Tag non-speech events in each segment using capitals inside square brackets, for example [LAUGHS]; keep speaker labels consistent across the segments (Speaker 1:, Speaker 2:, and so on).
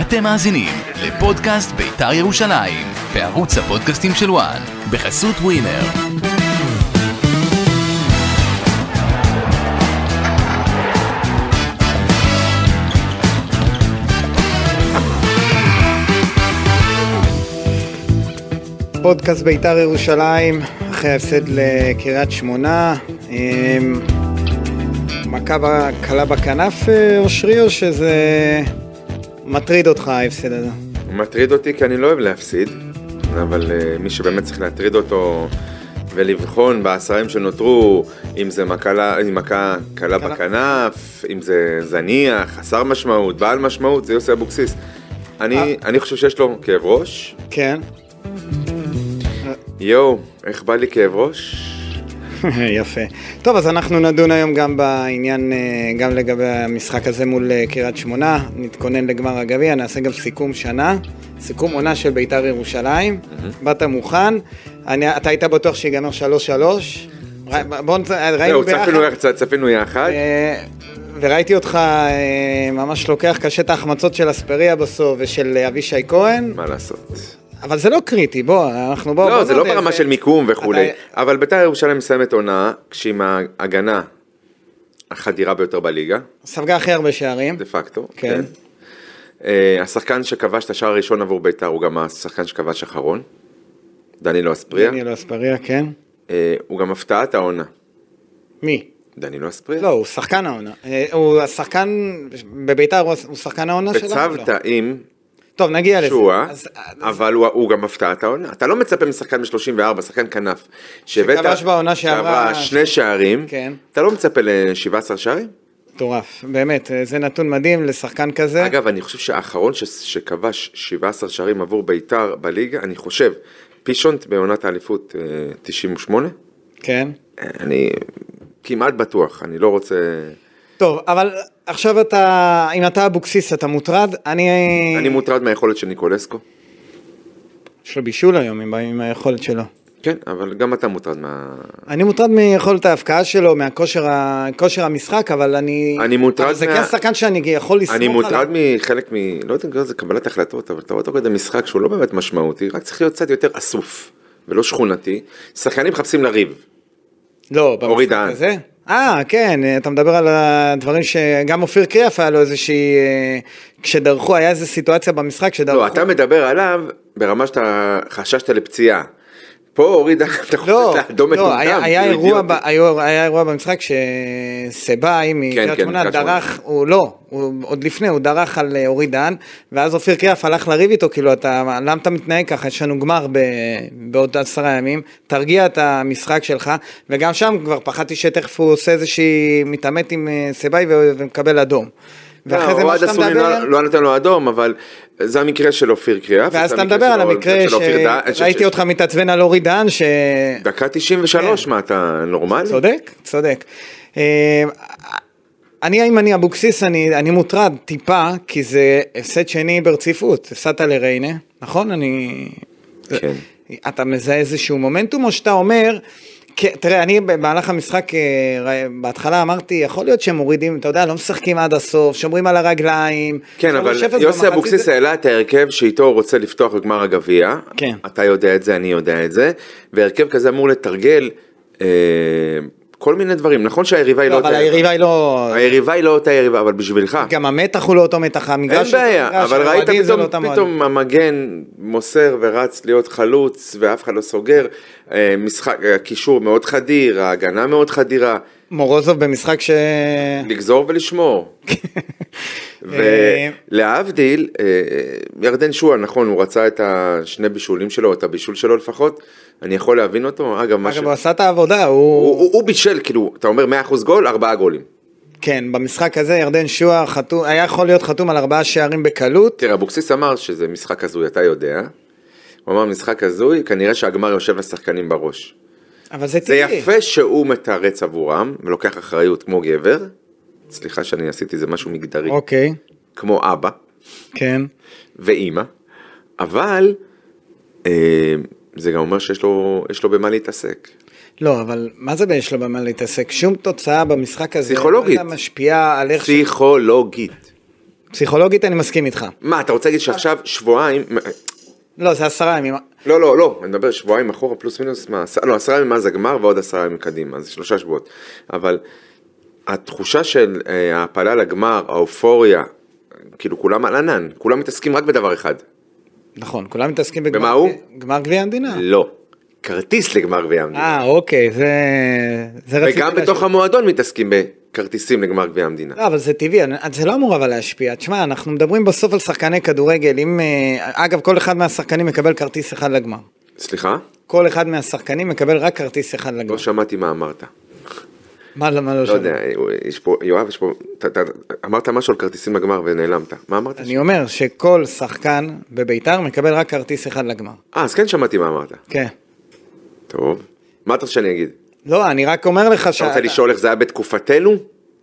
Speaker 1: אתם מאזינים לפודקאסט בית"ר ירושלים, בערוץ הפודקאסטים של וואן, בחסות ווינר.
Speaker 2: פודקאסט בית"ר ירושלים, אחרי ההפסד לקריית שמונה. אמ, מכה ב- קלה בכנף, אה, אושרי, או שזה מטריד אותך ההפסד הזה?
Speaker 3: הוא מטריד אותי כי אני לא אוהב להפסיד, אבל uh, מי שבאמת צריך להטריד אותו ולבחון בעשרים שנותרו, אם זה מקלה, אם מכה קלה
Speaker 2: קלה.
Speaker 3: בכנף, אם זה זניח, חסר משמעות, בעל משמעות, זה יוסי אבוקסיס.
Speaker 2: אה.
Speaker 3: אני, אני חושב שיש לו כאב ראש.
Speaker 2: כן. [LAUGHS]
Speaker 3: יואו, איך בא לי כאב ראש?
Speaker 2: יפה. טוב, אז אנחנו נדון היום גם בעניין, אה, גם לגבי המשחק הזה מול אה, קריית שמונה, נתכונן לגמר הגביע, נעשה גם סיכום שנה, סיכום עונה של בית"ר ירושלים. באת מוכן, אני- אתה היית בטוח שיגמר 3-3? ר- בוא, נצ- ראינו
Speaker 3: זהו,
Speaker 2: ביחד.
Speaker 3: צפינו יחד- צפינו יחד.
Speaker 2: אה, וראיתי אותך אה, ממש לוקח קשה את ההחמצות של אספריה בסוף ושל אה, אבישי כהן,
Speaker 3: מה לעשות?
Speaker 2: אבל זה לא קריטי, בוא, אנחנו בוא... בוא
Speaker 3: לא, זה לא
Speaker 2: נודה,
Speaker 3: ברמה של מיקום וכולי,
Speaker 2: אתה-
Speaker 3: אבל בית"ר ירושלים מסיימת עונה כשהיא מההגנה החדירה ביותר בליגה,
Speaker 2: ספגה הכי הרבה שערים.
Speaker 3: דה פקטו.
Speaker 2: כן.
Speaker 3: אה, השחקן שכבש את השער הראשון עבור בית"ר הוא גם השחקן שכבש אחרון, דנילו אספריה.
Speaker 2: דניאל אספריה, כן.
Speaker 3: אה, הוא גם הפתעת העונה,
Speaker 2: מי?
Speaker 3: דנילו אספריה.
Speaker 2: לא, הוא שחקן העונה. אה, הוא השחקן, בביתר הוא הוא שחקן העונה שלנו?
Speaker 3: בצוותא
Speaker 2: לא.
Speaker 3: עם
Speaker 2: טוב, נגיע לזה.
Speaker 3: שועה,
Speaker 2: אז- אה, אז-
Speaker 3: אבל הוא- הוא גם הפתעת העונה. אתה לא מצפה משחקן ב-34, שחקן כנף. שהבאת-
Speaker 2: שכבש בעונה שעברה-
Speaker 3: שעברה שני שערים,
Speaker 2: כן.
Speaker 3: אתה לא מצפה ל-17 שערים?
Speaker 2: מטורף, באמת, אה, זה נתון מדהים לשחקן כזה.
Speaker 3: אגב, אני חושב שהאחרון ש- שכבש 17 שערים עבור בית"ר בליגה, אני חושב, פישונט בעונת האליפות אה, 98,
Speaker 2: כן.
Speaker 3: אה, אני כמעט בטוח, אני לא רוצה...
Speaker 2: טוב, אבל עכשיו אתה, אם אתה אבוקסיס אתה מוטרד, אני...
Speaker 3: אני מוטרד מהיכולת של ניקולסקו.
Speaker 2: יש לו בישול היום עם, עם היכולת שלו.
Speaker 3: כן, אבל גם אתה מוטרד מה...
Speaker 2: אני מוטרד מיכולת ההפקעה שלו, מהכושר ה... כושר המשחק, אבל אני...
Speaker 3: אני מוטרד
Speaker 2: אבל זה
Speaker 3: מה-
Speaker 2: כן שחקן שאני יכול לסמוך
Speaker 3: אני
Speaker 2: עליו.
Speaker 3: מוטרד מחלק מ... לא יודע אם קורא לזה קבלת החלטות, אבל אתה רואה אותו כזה משחק שהוא לא באמת משמעותי, רק צריך להיות קצת יותר אסוף, ולא שכונתי. שחקנים מחפשים לריב.
Speaker 2: לא,
Speaker 3: אורי
Speaker 2: במשחק
Speaker 3: דהן.
Speaker 2: הזה? אה, כן, אתה מדבר על הדברים שגם אופיר קריאף היה לו איזושהי... אה, כשדרכו, היה איזו סיטואציה במשחק שדרכו.
Speaker 3: לא, אתה מדבר עליו ברמה שאתה חששת לפציעה. פה הוריד, [LAUGHS] אתה
Speaker 2: לא,
Speaker 3: חושב לאדום מטומטם.
Speaker 2: לא, היה, היה,
Speaker 3: כאילו,
Speaker 2: אירוע ב,
Speaker 3: אידיוטי.
Speaker 2: היה, היה אירוע במשחק שסבאי מקריית
Speaker 3: כן,
Speaker 2: שמונה
Speaker 3: מקריית
Speaker 2: דרך, הוא לא, הוא, עוד לפני, הוא דרך על אה, אורי דהן, ואז אופיר קריאף הלך לריב איתו, כאילו, אתה, למה אתה מתנהג ככה, יש לנו גמר ב, בעוד עשרה ימים, תרגיע את המשחק שלך, וגם שם כבר פחדתי שתכף הוא עושה איזושהי, מתעמת עם אה, סבאי ו- ומקבל אדום. ואחרי זה
Speaker 3: לא,
Speaker 2: מה
Speaker 3: אוהד
Speaker 2: שאתה
Speaker 3: אסולין
Speaker 2: מדבר...
Speaker 3: לא נתן לו אדום, אבל זה המקרה של אופיר קריאף.
Speaker 2: ואז
Speaker 3: זה
Speaker 2: אתה
Speaker 3: המקרה
Speaker 2: מדבר על
Speaker 3: של-
Speaker 2: המקרה
Speaker 3: של אופיר דהן, ש-
Speaker 2: שראיתי
Speaker 3: ש-
Speaker 2: אותך מתעצבן על אורי דהן, ש...
Speaker 3: דקה 93, מה אתה נורמלי?
Speaker 2: כן. צודק, צודק. אה, אני, אם אני אבוקסיס, אני, אני מוטרד טיפה, כי זה הפסד שני ברציפות. הפסדת לריינה, נכון? אני...
Speaker 3: כן.
Speaker 2: אתה מזהה איזשהו מומנטום, או שאתה אומר... כי- תראה, אני במהלך המשחק, אה, ר- בהתחלה אמרתי, יכול להיות שהם מורידים, אתה יודע, לא משחקים עד הסוף, שומרים על הרגליים.
Speaker 3: כן, אבל
Speaker 2: שלוש אפס
Speaker 3: יוסי
Speaker 2: במחצית
Speaker 3: אבוקסיס
Speaker 2: זה-
Speaker 3: העלה את ההרכב שאיתו הוא רוצה לפתוח בגמר הגביע.
Speaker 2: כן.
Speaker 3: אתה יודע את זה, אני יודע את זה. והרכב כזה אמור לתרגל אה, כל מיני דברים. נכון שהיריבה היא לא
Speaker 2: לא, אבל
Speaker 3: אותה
Speaker 2: היריבה היא לא...
Speaker 3: היריבה היא לא אותה יריבה, אבל בשבילך.
Speaker 2: גם המתח הוא לא אותו מתח, המגרש...
Speaker 3: אין
Speaker 2: הוא אותו
Speaker 3: בעיה,
Speaker 2: מגרש,
Speaker 3: אבל ראית
Speaker 2: האוהדים זה לא אותם
Speaker 3: פתאום,
Speaker 2: אוהדים.
Speaker 3: פתאום המגן מוסר ורץ להיות חלוץ ואף אחד לא סוגר, אה, משחק, אה, קישור מאוד חדיר, ההגנה מאוד חדירה,
Speaker 2: מורוזוב במשחק ש...
Speaker 3: לגזור ולשמור.
Speaker 2: [LAUGHS] אה,
Speaker 3: ולהבדיל, אה, ירדן שועה, נכון, הוא רצה את השני בישולים שלו, את הבישול שלו לפחות, אני יכול להבין אותו, אגב, מה ש...
Speaker 2: אגב,
Speaker 3: הוא,
Speaker 2: הוא עשה את העבודה, הוא...
Speaker 3: הוא, הוא בישל, כאילו, אתה אומר 100% גול, 4 גולים.
Speaker 2: כן, במשחק הזה ירדן שועה חתום, היה יכול להיות חתום על ארבעה שערים בקלות.
Speaker 3: תראה, אבוקסיס אמר שזה משחק הזוי, אתה יודע. הוא אמר משחק הזוי, כנראה שהגמר יושב לשחקנים בראש.
Speaker 2: אבל זה
Speaker 3: זה
Speaker 2: טבעי.
Speaker 3: יפה שהוא מתרץ עבורם ולוקח אחריות כמו גבר. סליחה שאני עשיתי איזה משהו מגדרי,
Speaker 2: אוקיי,
Speaker 3: כמו אבא
Speaker 2: כן.
Speaker 3: ואימא, אבל אה, זה גם אומר שיש לו, יש לו במה להתעסק.
Speaker 2: לא, אבל מה זה יש לו במה להתעסק? שום תוצאה במשחק הזה.
Speaker 3: פסיכולוגית.
Speaker 2: לא הייתה משפיעה על איך... ש-
Speaker 3: פסיכולוגית.
Speaker 2: פסיכולוגית אני מסכים איתך.
Speaker 3: מה, אתה רוצה להגיד
Speaker 2: אה.
Speaker 3: שעכשיו שבועיים...
Speaker 2: לא, זה עשרה ימים.
Speaker 3: לא, לא, לא, אני מדבר שבועיים אחורה, פלוס מינוס, מה, עש- לא, עשרה ימים מאז הגמר ועוד עשרה ימים קדימה, זה שלושה שבועות. אבל התחושה של אה, ההעפלה לגמר, האופוריה, כאילו כולם על ענן, כולם מתעסקים רק בדבר אחד.
Speaker 2: נכון, כולם מתעסקים בגמר...
Speaker 3: במה הוא?
Speaker 2: גמר גביע המדינה.
Speaker 3: לא. כרטיס לגמר גביע המדינה.
Speaker 2: אה, אוקיי, זה... זה רציתי
Speaker 3: וגם
Speaker 2: להשאיר.
Speaker 3: בתוך המועדון מתעסקים בכרטיסים לגמר גביע המדינה.
Speaker 2: לא, אבל זה טבעי, אני- זה לא אמור אבל להשפיע. תשמע, אנחנו מדברים בסוף על שחקני כדורגל. אם... אה, אגב, כל אחד מהשחקנים מקבל כרטיס אחד לגמר.
Speaker 3: סליחה?
Speaker 2: כל אחד מהשחקנים מקבל רק כרטיס אחד לגמר.
Speaker 3: לא שמעתי מה אמרת.
Speaker 2: מה לא, מה לא
Speaker 3: לא
Speaker 2: שמעת?
Speaker 3: יודע, יש פה, יואב, יש פה, אתה- אתה- אמרת משהו על כרטיסים לגמר ונעלמת. מה אמרת?
Speaker 2: אני אומר שכל שחקן בביתר מקבל רק כרטיס אחד לגמר.
Speaker 3: אה, אז כן שמעתי מה אמרת.
Speaker 2: כן.
Speaker 3: טוב. מה אתה רוצה שאני אגיד?
Speaker 2: לא, אני רק אומר לך
Speaker 3: אתה רוצה לשאול איך זה היה בתקופתנו?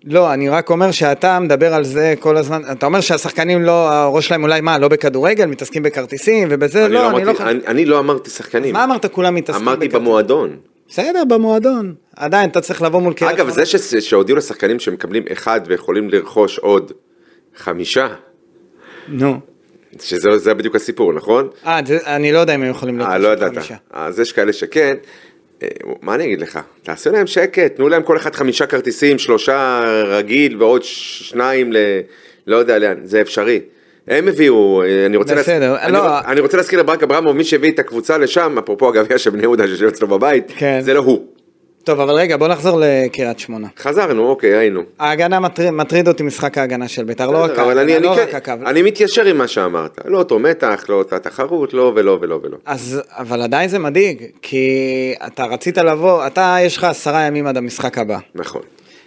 Speaker 2: לא, אני רק אומר שאתה מדבר על זה כל הזמן. אתה אומר שהשחקנים לא, הראש שלהם אולי מה, לא בכדורגל, מתעסקים בכרטיסים ובזה?
Speaker 3: אני לא
Speaker 2: לא, אני לא...
Speaker 3: אמרתי- אני- אני לא אמרתי שחקנים.
Speaker 2: מה אמרת כולם מתעסקים
Speaker 3: אמרתי
Speaker 2: בכרטיס?
Speaker 3: במועדון.
Speaker 2: בסדר, במועדון. עדיין, אתה צריך לבוא מול קריית
Speaker 3: אגב,
Speaker 2: שמונה.
Speaker 3: זה ש- שהודיעו לשחקנים שמקבלים אחד ויכולים לרכוש עוד חמישה,
Speaker 2: נו.
Speaker 3: שזה זה בדיוק הסיפור, נכון?
Speaker 2: אה, זה- אני לא יודע אם הם יכולים להיות
Speaker 3: אה, לא ידעת.
Speaker 2: חמישה.
Speaker 3: אז יש כאלה שכן. אה, מה אני אגיד לך? תעשו להם שקט, תנו להם כל אחד חמישה כרטיסים, שלושה רגיל ועוד ש- שניים ל... לא יודע לאן, זה אפשרי. הם הביאו, אה, אני רוצה,
Speaker 2: בסדר,
Speaker 3: אני,
Speaker 2: לא.
Speaker 3: אני רוצה להזכיר לברק אברמוב, מי שהביא את הקבוצה לשם, אפרופו הגביע של בני יהודה שיושב אצלו בבית,
Speaker 2: כן.
Speaker 3: זה לא הוא.
Speaker 2: טוב, אבל רגע, בוא נחזור לקריית שמונה.
Speaker 3: חזרנו, אוקיי, היינו.
Speaker 2: ההגנה מטריד- מטריד אותי משחק ההגנה של ביתר, לא רק
Speaker 3: בסדר, אבל אני-
Speaker 2: ההגנה,
Speaker 3: אני
Speaker 2: לא
Speaker 3: כן-
Speaker 2: רק הקו.
Speaker 3: אני מתיישר עם מה שאמרת, לא אותו מתח, לא אותה תחרות, לא ולא ולא ולא.
Speaker 2: אז, אבל עדיין זה מדאיג, כי אתה רצית לבוא, אתה, יש לך עשרה ימים עד המשחק הבא.
Speaker 3: נכון.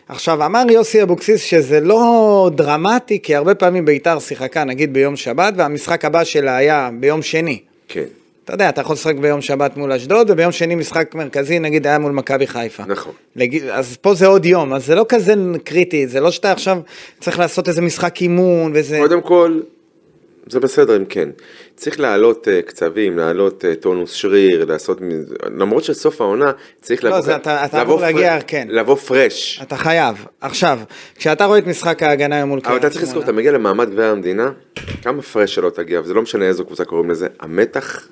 Speaker 2: עכשיו, אמר יוסי אבוקסיס שזה לא דרמטי, כי הרבה פעמים ביתר שיחקה, נגיד ביום שבת, והמשחק הבא שלה היה ביום שני.
Speaker 3: כן,
Speaker 2: אתה יודע, אתה יכול לשחק ביום שבת מול אשדוד, וביום שני משחק מרכזי, נגיד היה מול מכבי חיפה.
Speaker 3: נכון.
Speaker 2: לג... אז פה זה עוד יום, אז זה לא כזה קריטי, זה לא שאתה עכשיו צריך לעשות איזה משחק אימון וזה...
Speaker 3: קודם כל, זה בסדר אם כן. צריך להעלות אה, קצבים, להעלות אה, טונוס שריר, לעשות... מ- למרות שסוף העונה צריך
Speaker 2: לא,
Speaker 3: לבוא-
Speaker 2: זה אתה- אתה
Speaker 3: לבוא
Speaker 2: אמור להגיע,
Speaker 3: פר-
Speaker 2: כן.
Speaker 3: לבוא פרש.
Speaker 2: אתה חייב. עכשיו, כשאתה רואה את משחק ההגנה היום מול
Speaker 3: אבל אתה צריך לזכור,
Speaker 2: כן, שמונה,
Speaker 3: אתה מגיע למעמד גביע המדינה, כמה פרש שלא תגיע, וזה לא משנה איזו קבוצה קוראים לזה, המתח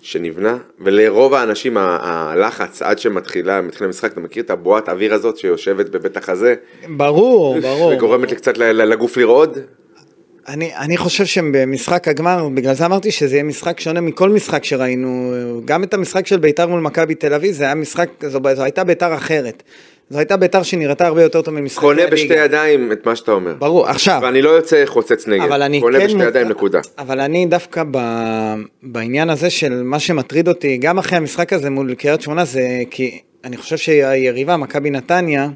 Speaker 3: שנבנה, ולרוב האנשים ה- הלחץ עד שמתחילה, מתחיל המשחק, אתה מכיר את הבועת אוויר הזאת שיושבת בבית החזה, [LAUGHS]
Speaker 2: ברור, ברור.
Speaker 3: וגורמת לי קצת ל- ל- לגוף לרעוד?
Speaker 2: אני, אני חושב שבמשחק הגמר, בגלל זה אמרתי שזה יהיה משחק שונה מכל משחק שראינו. גם את המשחק של ביתר מול מכבי תל אביב, זה היה משחק, זו, זו הייתה ביתר אחרת. זו הייתה ביתר שנראתה הרבה יותר טוב ממשחקי
Speaker 3: קונה
Speaker 2: הליגה.
Speaker 3: בשתי ידיים את מה שאתה אומר.
Speaker 2: ברור, עכשיו.
Speaker 3: ואני לא יוצא חוצץ נגד,
Speaker 2: אה. אבל אני
Speaker 3: קונה
Speaker 2: כן
Speaker 3: בשתי
Speaker 2: מודע-
Speaker 3: ידיים נקודה.
Speaker 2: אבל אני דווקא ב... בעניין הזה של מה שמטריד אותי, גם אחרי המשחק הזה מול קריית שמונה, זה כי אני חושב שהיריבה, מכבי נתניה,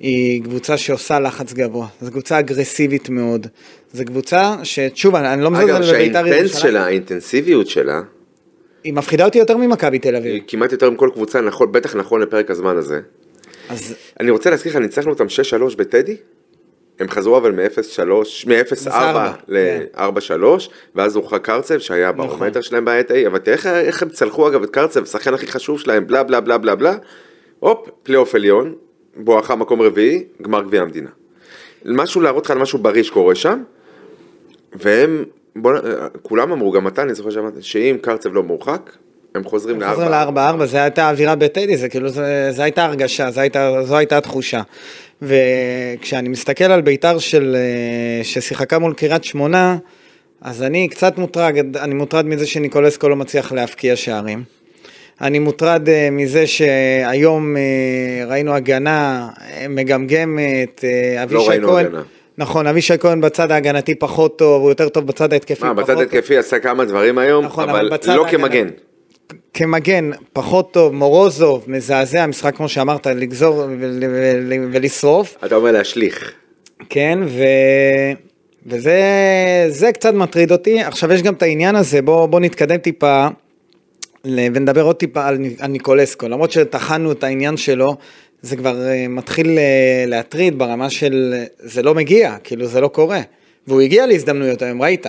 Speaker 2: היא קבוצה שעושה לחץ גבוה. זו קבוצה אגרסיבית מאוד. זו קבוצה ששוב, אני, אני לא
Speaker 3: אגב,
Speaker 2: מזלזל בבית"ר
Speaker 3: שהאינטנס
Speaker 2: ירושלים.
Speaker 3: שלה, האינטנסיביות שלה,
Speaker 2: היא מפחידה אותי יותר ממכבי תל אביב.
Speaker 3: היא כמעט יותר מכל קבוצה, נכון, בטח נכון לפרק הזמן הזה.
Speaker 2: אז
Speaker 3: אני רוצה להזכיר לך, ניצחנו אותם 6-3 בטדי, הם חזרו אבל מ-0-3, מ-0-4
Speaker 2: ארבע, נכון. כן.
Speaker 3: ל-4-3, ואז הורחק קרצב שהיה ברומטר שלהם בעת ההיא, אבל תראה איך- איך הם צלחו אגב את קרצב, השחקן הכי חשוב שלהם, בלה בלה בלה בלה בלה, הופ, פלייאוף עליון, בואכה מקום רביעי, גמר גביע המדינה. משהו להראות לך על משהו בריא שקורה שם, והם, בוא, נ- כולם אמרו, גם אתה, אני זוכר שאמרת, שאם קרצב לא מורחק, הם חוזרים
Speaker 2: חוזרים
Speaker 3: לארבע.
Speaker 2: לארבע ארבע, זה הייתה האווירה בטדי, זה כאילו, זה, זה הייתה הרגשה, זה הייתה, זו הייתה התחושה. וכשאני מסתכל על ביתר של, אה, ששיחקה מול קריית שמונה, אז אני קצת מוטרד, אני מוטרד מזה שניקולסקו לא מצליח להבקיע שערים. אני מוטרד אה, מזה שהיום אה, ראינו הגנה אה, מגמגמת, אה, אבישי כהן.
Speaker 3: לא ראינו הגנה.
Speaker 2: נכון, אבישי כהן בצד ההגנתי פחות טוב, הוא יותר טוב בצד ההתקפי
Speaker 3: מה,
Speaker 2: פחות
Speaker 3: בצד
Speaker 2: טוב.
Speaker 3: התקפי עשה כמה דברים היום,
Speaker 2: אוקיי. נכון,
Speaker 3: אבל
Speaker 2: אבל בצד
Speaker 3: לא
Speaker 2: ההגנה.
Speaker 3: כמגן.
Speaker 2: כמגן פחות טוב, מורוזוב, מזעזע, משחק כמו שאמרת, לגזור ול- ול- ולשרוף,
Speaker 3: אתה אומר להשליך.
Speaker 2: כן, ו... וזה זה קצת מטריד אותי. עכשיו יש גם את העניין הזה, בואו בוא נתקדם טיפה ל- ונדבר עוד טיפה על, ני- על ניקולסקו, למרות שטחנו את העניין שלו, זה כבר אה, מתחיל אה, להטריד ברמה של אה, זה לא מגיע, כאילו זה לא קורה. והוא הגיע להזדמנויות היום, ראית.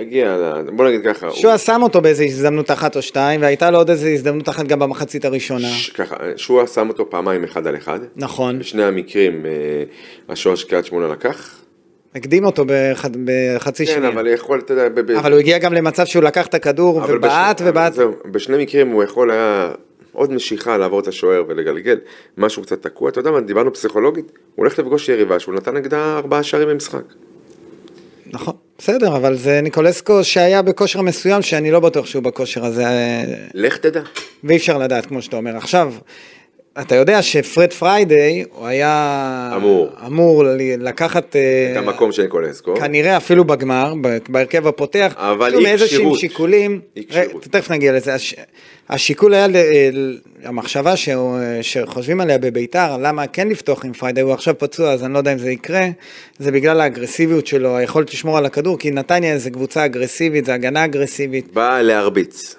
Speaker 3: יגיע, ל- בוא נגיד ככה, הוא-
Speaker 2: שועה שם אותו באיזו הזדמנות אחת או שתיים, והייתה לו עוד איזו הזדמנות אחת גם במחצית הראשונה.
Speaker 3: ש- ככה, שועה שם אותו פעמיים אחד על אחד.
Speaker 2: נכון.
Speaker 3: בשני המקרים אה, השוער של קריית שמונה לקח.
Speaker 2: הקדים אותו בח... בחצי
Speaker 3: כן,
Speaker 2: שנייה.
Speaker 3: אבל יכול, אתה יודע, ב- ב-
Speaker 2: אבל הוא הגיע גם למצב שהוא לקח את הכדור
Speaker 3: אבל
Speaker 2: ובעט
Speaker 3: בשני-
Speaker 2: ובעט.
Speaker 3: אבל זהו, בשני מקרים הוא יכול היה עוד משיכה לעבור את השוער ולגלגל, משהו קצת תקוע, אתה יודע מה, דיברנו פסיכולוגית, הוא הולך לפגוש יריבה שהוא נתן נגדה ארבעה שערים במשחק.
Speaker 2: נכון, בסדר, אבל זה ניקולסקו שהיה בכושר מסוים שאני לא בטוח שהוא בכושר הזה, אה,
Speaker 3: לך תדע.
Speaker 2: ואי אפשר לדעת, כמו שאתה אומר. עכשיו, אתה יודע שפרד פריידיי, הוא היה...
Speaker 3: אמור.
Speaker 2: אמור ל- לקחת... אה,
Speaker 3: את המקום של ניקולסקו.
Speaker 2: כנראה אפילו בגמר, ב- בהרכב הפותח,
Speaker 3: אבל
Speaker 2: כאילו
Speaker 3: אי
Speaker 2: מאיזשהם
Speaker 3: כשירות.
Speaker 2: שיקולים,
Speaker 3: אי
Speaker 2: ר-
Speaker 3: כשירות.
Speaker 2: תכף נגיע לזה, הש, השיקול היה, ל, ל, המחשבה ש, שחושבים עליה בביתר, למה כן לפתוח עם פריידי, הוא עכשיו פצוע אז אני לא יודע אם זה יקרה, זה בגלל האגרסיביות שלו, היכולת לשמור על הכדור, כי נתניה זה קבוצה אגרסיבית, זה הגנה אגרסיבית,
Speaker 3: בא להרביץ.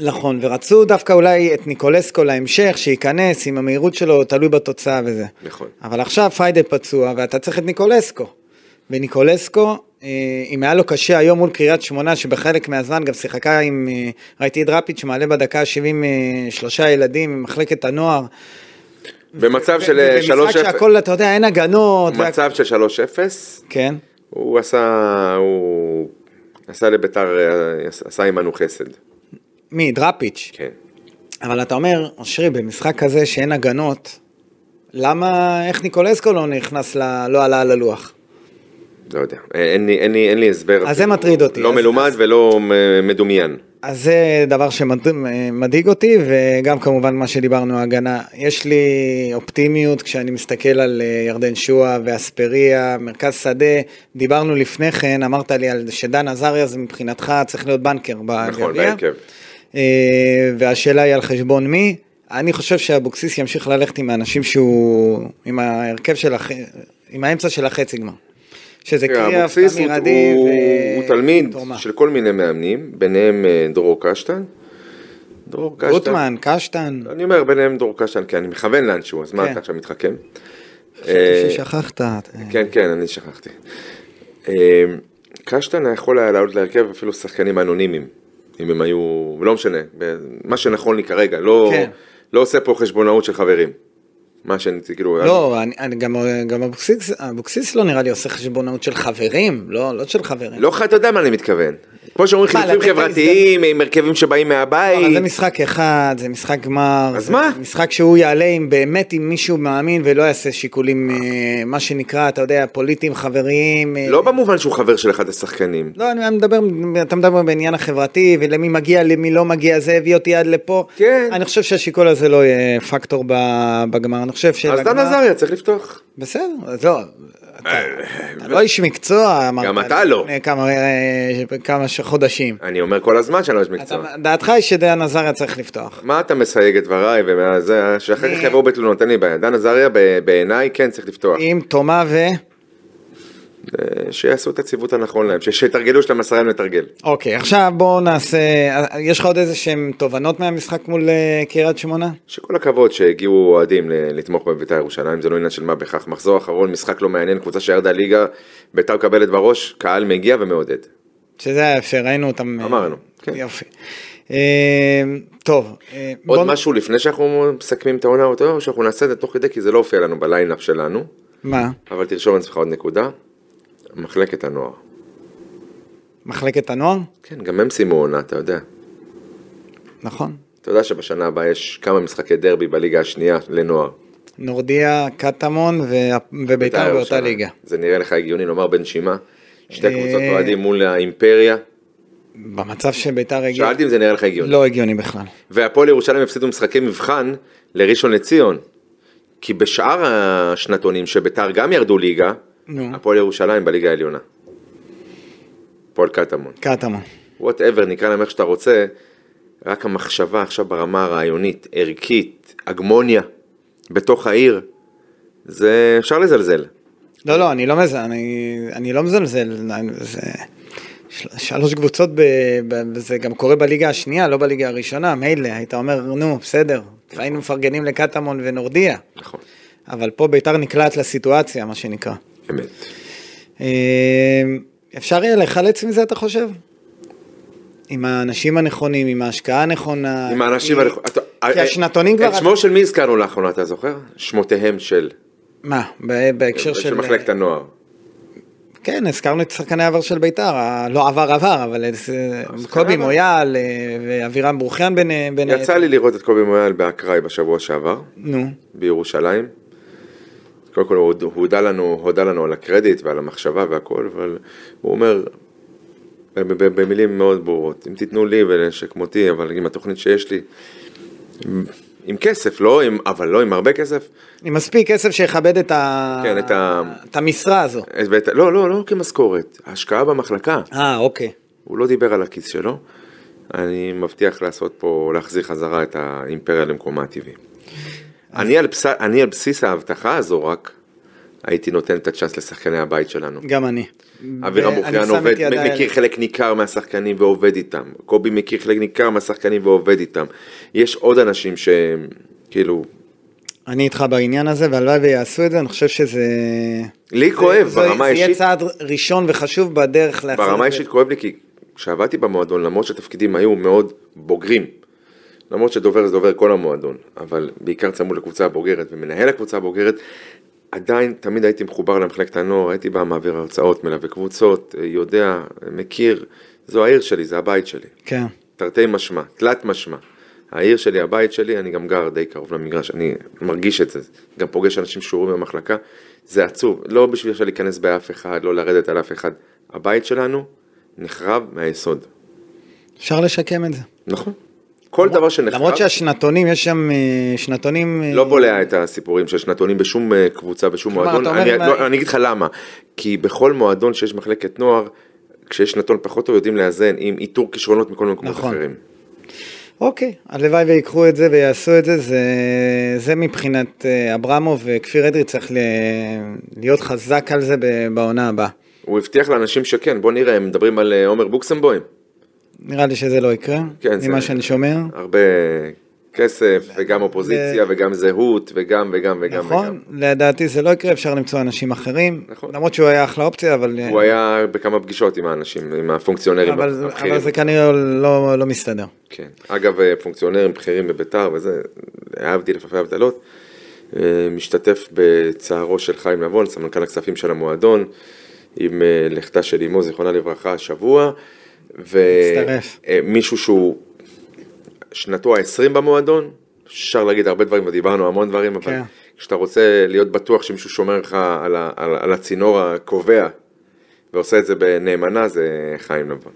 Speaker 2: נכון, ורצו דווקא אולי את ניקולסקו להמשך, שייכנס עם המהירות שלו, תלוי בתוצאה וזה.
Speaker 3: נכון.
Speaker 2: אבל עכשיו פריידי פצוע, ואתה צריך את ניקולסקו. וניקולסקו, אה, אם היה לו קשה היום מול קריית שמונה, שבחלק מהזמן גם שיחקה עם, אה, ראיתי את דראפיץ' מעלה בדקה ה-73 ילדים ממחלקת הנוער.
Speaker 3: במצב של אה, 3-0,
Speaker 2: ובמשחק שהכל, אתה יודע, אין הגנות. וה-
Speaker 3: מצב של 3-0,
Speaker 2: כן.
Speaker 3: הוא עשה, הוא עשה לביתר, אה, עשה עמנו חסד.
Speaker 2: מי? דראפיץ'.
Speaker 3: כן.
Speaker 2: אבל אתה אומר, אושרי, במשחק כזה שאין הגנות, למה, איך ניקולסקו לא נכנס, ל... לא עלה על הלוח?
Speaker 3: לא יודע, אין לי, אין לי, אין לי הסבר.
Speaker 2: אז זה
Speaker 3: אפילו.
Speaker 2: מטריד אותי.
Speaker 3: לא
Speaker 2: אז-
Speaker 3: מלומד ולא אה, מדומיין.
Speaker 2: אז זה דבר שמדאיג אותי, וגם כמובן מה שדיברנו, הגנה. יש לי אופטימיות כשאני מסתכל על אה, ירדן שואה ואספריה, מרכז שדה. דיברנו לפני כן, אמרת לי על שדן עזריה זה מבחינתך צריך להיות בנקר בגביע.
Speaker 3: נכון, בהרכב.
Speaker 2: אה, והשאלה היא על חשבון מי. אני חושב שאבוקסיס ימשיך ללכת עם האנשים שהוא, עם ההרכב של, הח... עם האמצע של החצי גמר. שזה
Speaker 3: תראה,
Speaker 2: קריאף,
Speaker 3: אבוקסיס הוא-
Speaker 2: תמיר עדי
Speaker 3: הוא-
Speaker 2: ו-
Speaker 3: הוא תלמיד
Speaker 2: תורמה.
Speaker 3: של כל מיני מאמנים, ביניהם אה, דרור קשטן. דרור קשטן.
Speaker 2: גוטמן, קשטן.
Speaker 3: אני אומר ביניהם דרור קשטן, כי אני מכוון לאנשהו, אז
Speaker 2: כן.
Speaker 3: מה אתה עכשיו מתחכם?
Speaker 2: חשבתי
Speaker 3: אה,
Speaker 2: ששכחת.
Speaker 3: כן, כן, אני שכחתי. אה, קשטן יכול היה לעלות להרכב אפילו שחקנים אנונימיים, אם הם היו, לא משנה, ב- מה שנכון לי כרגע, לא
Speaker 2: כן.
Speaker 3: לא עושה פה חשבונאות של חברים. מה שאני, כאילו,
Speaker 2: לא, אני, אני גם, גם אבוקסיס, אבוקסיס לא נראה לי עושה חשבונאות של חברים, לא, לא של חברים.
Speaker 3: לא, אתה יודע מה אני מתכוון. כמו שאומרים
Speaker 2: מה, לתת
Speaker 3: חילופים
Speaker 2: את
Speaker 3: חברתיים, עם הרכבים שבאים
Speaker 2: אבל זה
Speaker 3: מהבית.
Speaker 2: משחק אחד, זה משחק גמר.
Speaker 3: אז
Speaker 2: זה
Speaker 3: מה?
Speaker 2: משחק שהוא יעלה עם באמת עם מישהו מאמין ולא יעשה שיקולים, אה, מה שנקרא, אתה יודע, פוליטיים, חבריים. אה,
Speaker 3: לא במובן שהוא חבר של אחד השחקנים.
Speaker 2: לא, אני מדבר, אתה מדבר בעניין החברתי, ולמי מגיע, למי לא מגיע, זה הביא אותי עד לפה.
Speaker 3: כן.
Speaker 2: אני חושב שהשיקול הזה לא יהיה פקטור ב- בגמר, אני חושב
Speaker 3: אז דן
Speaker 2: שבגמר-
Speaker 3: עזריה צריך לפתוח. אה,
Speaker 2: בסדר, אז לא, אתה, אתה לא איש מקצוע, אמרת.
Speaker 3: גם
Speaker 2: לי
Speaker 3: אתה לא.
Speaker 2: לפני כמה, אה, כמה ש- חודשים.
Speaker 3: אני אומר כל הזמן שאני לא איש מקצוע.
Speaker 2: אתה- דעתך היא שדיין עזריה צריך לפתוח.
Speaker 3: מה אתה מסייג את דבריי ומה זה, שאחר כך
Speaker 2: אני-
Speaker 3: יבואו בתלונות, אין לי בעיה. דן עזריה ב- בעיניי כן צריך לפתוח.
Speaker 2: עם תומה ו...
Speaker 3: אה, שיעשו את הציוות הנכון להם, ש- שיתרגלו שלהם עשרה ימים לתרגל.
Speaker 2: אוקיי, עכשיו בואו נעשה... אה, יש לך עוד איזה שהן תובנות מהמשחק מול אה, קריית שמונה?
Speaker 3: שכל הכבוד שהגיעו אוהדים ל- לתמוך בבית"ר ירושלים, זה לא עניין של מה בכך. מחזור אחרון, משחק לא מעניין, קבוצה שירדה ליגה, בית"ר מקבלת בראש, קהל מגיע ומעודד.
Speaker 2: שזה היה יפה, ראינו אותם. אה,
Speaker 3: אמרנו, כן.
Speaker 2: יופי. אה, טוב. אה,
Speaker 3: עוד
Speaker 2: בוא-
Speaker 3: משהו לפני שאנחנו מסכמים את העונה אותו, או שאנחנו נעשה את זה תוך כדי, כי זה לא הופיע לנו בליינאפ שלנו,
Speaker 2: מה?
Speaker 3: אבל תרשום לעצמך עוד נקודה, מחלקת הנוער.
Speaker 2: מחלקת הנוער?
Speaker 3: כן, גם הם סיימו עונה, אתה יודע.
Speaker 2: נכון.
Speaker 3: אתה יודע שבשנה הבאה יש כמה משחקי דרבי בליגה השנייה לנוער.
Speaker 2: נורדיה, קטמון וה- וביתר באותה
Speaker 3: ירושלים.
Speaker 2: ליגה.
Speaker 3: זה נראה לך הגיוני לומר בנשימה? שתי
Speaker 2: אה,
Speaker 3: קבוצות אוהדים מול האימפריה.
Speaker 2: במצב שביתר הגיעה...
Speaker 3: שאלתי אם זה נראה לך הגיוני.
Speaker 2: לא הגיוני בכלל.
Speaker 3: והפועל ירושלים הפסידו משחקי מבחן לראשון לציון. כי בשאר השנתונים שביתר גם ירדו ליגה,
Speaker 2: נו.
Speaker 3: הפועל ירושלים בליגה העליונה. הפועל קטמון.
Speaker 2: קטמון.
Speaker 3: וואטאבר, נקרא להם איך שאתה רוצה, רק המחשבה עכשיו ברמה הרעיונית, ערכית, הגמוניה, בתוך העיר, זה אפשר לזלזל.
Speaker 2: לא, לא, אני לא מזלזל, אני, אני לא מזלזל. אני- זה של, שלוש קבוצות, ב, ב, זה גם קורה בליגה השנייה, לא בליגה הראשונה. מילא, היית אומר, נו, בסדר, היינו מפרגנים לקטמון ונורדיה.
Speaker 3: נכון,
Speaker 2: אבל פה ביתר נקלעת לסיטואציה, מה שנקרא.
Speaker 3: אמת.
Speaker 2: אה, אפשר יהיה להיחלץ מזה, אתה חושב? עם האנשים הנכונים, עם ההשקעה הנכונה.
Speaker 3: עם האנשים
Speaker 2: עם-
Speaker 3: הנכונים. אתה-
Speaker 2: אה,
Speaker 3: אה,
Speaker 2: כי השנתונים כבר...
Speaker 3: את שמו של מי הזכרנו לאחרונה, אתה זוכר? שמותיהם של...
Speaker 2: מה? ב- בהקשר של...
Speaker 3: של מחלקת הנוער.
Speaker 2: כן, הזכרנו את שחקני העבר של ביתר, ה- לא עבר עבר, אבל זה-
Speaker 3: שחקני
Speaker 2: קובי
Speaker 3: עבר.
Speaker 2: מויאל אה, ואבירם ברוכיאן בין... בין-
Speaker 3: יצא לי לראות את קובי מויאל באקראי בשבוע שעבר,
Speaker 2: נו,
Speaker 3: בירושלים. קודם כל הוא הוד- הוא הודה לנו, הודה לנו על הקרדיט ועל המחשבה והכל, אבל הוא אומר, ב- ב- ב- במילים מאוד ברורות, אם תיתנו לי ולנשק מותי, אבל עם התוכנית שיש לי, עם- עם כסף, לא עם, אבל לא עם הרבה כסף,
Speaker 2: עם מספיק כסף שיכבד את ה...
Speaker 3: כן, את ה-
Speaker 2: את המשרה הזו.
Speaker 3: אז ואת- לא, לא, לא כמשכורת, השקעה במחלקה,
Speaker 2: אה, אוקיי.
Speaker 3: הוא לא דיבר על הכיס שלו, אני מבטיח לעשות פה, להחזיר חזרה את האימפריה למקומה הטבעי. אני על, בס... אני על בסיס ההבטחה הזו רק, הייתי נותן את הצ'אנס לשחקני הבית שלנו.
Speaker 2: גם אני.
Speaker 3: אבירם
Speaker 2: ואני
Speaker 3: אוחיאן
Speaker 2: שם את
Speaker 3: עובד,
Speaker 2: ידיי על-
Speaker 3: מכיר חלק ניכר מהשחקנים ועובד איתם, קובי מכיר חלק ניכר מהשחקנים ועובד איתם, יש עוד אנשים שהם, כאילו,
Speaker 2: אני איתך בעניין הזה, והלוואי ויעשו את זה, אני חושב שזה...
Speaker 3: לי
Speaker 2: זה-
Speaker 3: כואב
Speaker 2: זה-
Speaker 3: ברמה
Speaker 2: זה יהיה
Speaker 3: האישית.
Speaker 2: צעד ראשון וחשוב בדרך להחזיר... את
Speaker 3: ברמה
Speaker 2: זה.
Speaker 3: האישית כואב לי, כי כשעבדתי במועדון, למרות שהתפקידים היו מאוד בוגרים, למרות שדובר זה דובר כל המועדון, אבל בעיקר צמוד לקבוצה הבוגרת ומנהל הקבוצה הבוגרת, עדיין תמיד הייתי מחובר למחלקת הנוער, הייתי בא מעביר הרצאות, מלווה קבוצות, יודע, מכיר, זו העיר שלי, זה הבית שלי.
Speaker 2: כן.
Speaker 3: תרתי משמע, תלת משמע. העיר שלי, הבית שלי, אני גם גר די קרוב למגרש, אני מרגיש את זה. גם פוגש אנשים שאורים במחלקה, זה עצוב. לא בשביל עכשיו להיכנס באף אחד, לא לרדת על אף אחד. הבית שלנו נחרב מהיסוד.
Speaker 2: אפשר לשקם את זה.
Speaker 3: נכון. כל דבר שנחרב,
Speaker 2: למרות שהשנתונים, יש שם אה, שנתונים... אה,
Speaker 3: לא בולע את הסיפורים של שנתונים בשום אה, קבוצה, בשום
Speaker 2: כלומר,
Speaker 3: מועדון.
Speaker 2: אתה אומר
Speaker 3: אני
Speaker 2: מה-
Speaker 3: לא, אני אגיד לך למה. כי בכל מועדון שיש מחלקת נוער, כשיש שנתון פחות טוב, יודעים לאזן עם איתור כישרונות מכל מיני מקומות
Speaker 2: נכון.
Speaker 3: אחרים.
Speaker 2: אוקיי, הלוואי ויקחו את זה ויעשו את זה, זה, זה מבחינת אה, אברמוב וכפיר אדרי צריך ל... להיות חזק על זה ב- בעונה הבאה.
Speaker 3: הוא הבטיח לאנשים שכן, בוא נראה, הם מדברים על אה, עומר בוקסמבוים.
Speaker 2: נראה לי שזה לא יקרה,
Speaker 3: כן,
Speaker 2: ממה
Speaker 3: זה-
Speaker 2: שאני שומע.
Speaker 3: הרבה כסף, וגם אופוזיציה, וגם זהות, וגם וגם וגם.
Speaker 2: נכון, לדעתי זה לא יקרה, אפשר למצוא אנשים אחרים,
Speaker 3: נכון.
Speaker 2: למרות שהוא היה אחלה אופציה, אבל, אה,
Speaker 3: וגם. הוא היה בכמה פגישות עם האנשים, עם הפונקציונרים
Speaker 2: אבל,
Speaker 3: הבכירים.
Speaker 2: אבל זה כנראה לא, לא מסתדר.
Speaker 3: כן. אגב, אה, פונקציונרים בכירים בביתר וזה, אהבתי לפעמים הבדלות. אה, משתתף בצערו של חיים נבון, סמנכ"ל הכספים של המועדון, עם אה, לכתה של אמו, זיכרונה לברכה, השבוע.
Speaker 2: מצטרף.
Speaker 3: ומישהו שהוא שנתו ה-20 במועדון, אפשר להגיד הרבה דברים, ודיברנו המון דברים, אבל
Speaker 2: כן.
Speaker 3: כשאתה רוצה להיות בטוח שמישהו שומר לך על, ה- על, על הצינור הקובע, ועושה את זה בנאמנה, זה חיים נבון.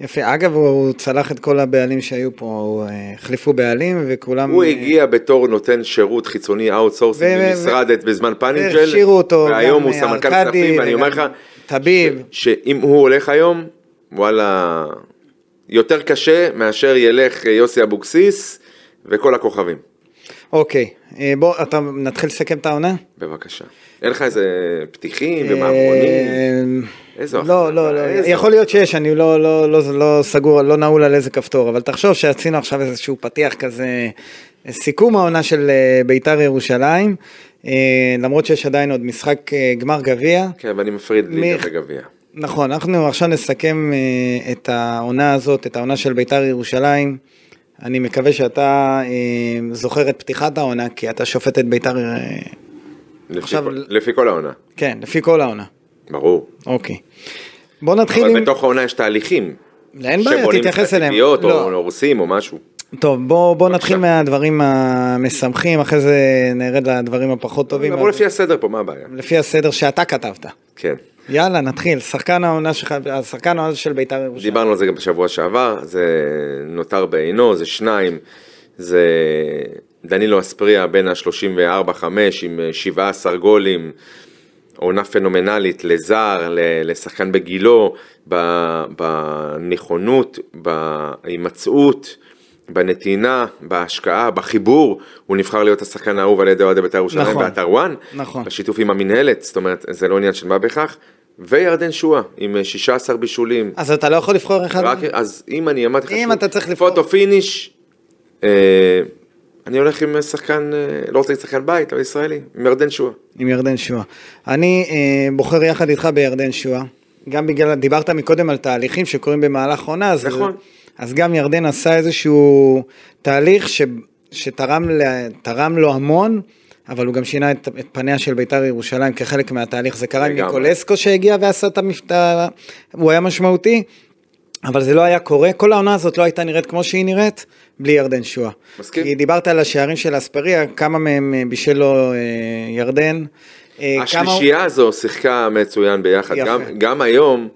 Speaker 2: יפה, אגב, הוא, הוא צלח את כל הבעלים שהיו פה, הוא, אה, החליפו בעלים וכולם...
Speaker 3: הוא
Speaker 2: אה,
Speaker 3: הגיע בתור נותן שירות חיצוני
Speaker 2: ו-
Speaker 3: אאוטסורסינג
Speaker 2: ו-
Speaker 3: במשרד את- בזמן פאנינג'ל,
Speaker 2: והכשירו אותו,
Speaker 3: והיום
Speaker 2: גם,
Speaker 3: הוא
Speaker 2: אה,
Speaker 3: סמנכ"ל
Speaker 2: ארקדי
Speaker 3: כספים, ואני אומר לך,
Speaker 2: וגם טביב.
Speaker 3: ש- שאם הוא הולך היום, וואלה, יותר קשה מאשר ילך אה, יוסי אבוקסיס וכל הכוכבים.
Speaker 2: אוקיי, אה, בוא, אתה נתחיל לסכם את העונה?
Speaker 3: בבקשה. אין לך איזה פתיחים ומעברונים?
Speaker 2: אה,
Speaker 3: איזו
Speaker 2: לא,
Speaker 3: החלטה,
Speaker 2: לא, לא,
Speaker 3: איזו.
Speaker 2: יכול להיות שיש, אני לא, לא, לא, לא סגור, לא נעול על איזה כפתור, אבל תחשוב שעשינו עכשיו איזשהו פתיח כזה, סיכום העונה של אה, בית"ר ירושלים, אה, למרות שיש עדיין עוד משחק אה, גמר גביע.
Speaker 3: כן, ואני מפריד ליגה
Speaker 2: מי-
Speaker 3: וגביע.
Speaker 2: נכון, אנחנו עכשיו נסכם אה, את העונה הזאת, את העונה של בית"ר ירושלים. אני מקווה שאתה אה, זוכר את פתיחת העונה, כי אתה שופט את בית"ר, אה,
Speaker 3: לפי
Speaker 2: עכשיו-
Speaker 3: כל- לפי כל העונה,
Speaker 2: כן, לפי כל העונה.
Speaker 3: ברור.
Speaker 2: אוקיי. בוא נתחיל עם...
Speaker 3: אבל בתוך העונה יש תהליכים.
Speaker 2: אין בעיה,
Speaker 3: שבונים
Speaker 2: תתייחס אליהם.
Speaker 3: ציפיות,
Speaker 2: לא.
Speaker 3: או הורסים או משהו.
Speaker 2: טוב, בוא, בוא
Speaker 3: בבקשה.
Speaker 2: נתחיל מהדברים המשמחים, אחרי זה נרד לדברים הפחות טובים.
Speaker 3: נעבור
Speaker 2: אבל-
Speaker 3: לפי הסדר פה, מה הבעיה?
Speaker 2: לפי הסדר שאתה כתבת.
Speaker 3: כן.
Speaker 2: יאללה, נתחיל. שחקן העונה שלך, השחקן העונה של בית"ר ירושלים.
Speaker 3: דיברנו על זה גם בשבוע שעבר, זה נותר בעינו, זה שניים, זה דנילו אספריה בין ה-34-5 עם אה, 17 גולים, עונה פנומנלית לזר, ל- לשחקן בגילו, ב- בנכונות, בהימצאות. בנתינה, בהשקעה, בחיבור, הוא נבחר להיות השחקן האהוב על ידי אוהדי בית"ר ירושלים
Speaker 2: נכון.
Speaker 3: באתר וואן,
Speaker 2: נכון.
Speaker 3: בשיתוף עם המינהלת, זאת אומרת, זה לא עניין של מה בכך, וירדן שואה עם אה, 16 בישולים,
Speaker 2: אז אתה לא יכול לבחור אחד?
Speaker 3: רק, אז אם אני אמרתי לך,
Speaker 2: אם
Speaker 3: שהוא
Speaker 2: אתה צריך לבחור-
Speaker 3: פוטו פיניש, אה, אני הולך עם שחקן, אה, לא רוצה להגיד שחקן בית, אבל ישראלי, עם ירדן שועה.
Speaker 2: עם ירדן שואה. אני אה, בוחר יחד איתך בירדן שואה. גם בגלל, דיברת מקודם על תהליכים שקורים במהלך עונה, אז,
Speaker 3: נכון.
Speaker 2: אז גם ירדן עשה איזשהו תהליך ש, שתרם ל, תרם לו המון, אבל הוא גם שינה את, את פניה של בית"ר ירושלים כחלק מהתהליך. זה קרה עם
Speaker 3: לגמרי.
Speaker 2: ניקולסקו שהגיע ועשה את המפתע, הוא היה משמעותי, אבל זה לא היה קורה. כל העונה הזאת לא הייתה נראית כמו שהיא נראית, בלי ירדן שואה.
Speaker 3: מסכים.
Speaker 2: כי דיברת על השערים של אספריה, כמה מהם אה, בישל לו אה, ירדן. אה, כמה הוא-
Speaker 3: השלישייה הזו שיחקה מצוין ביחד.
Speaker 2: יפה.
Speaker 3: גם, גם היום,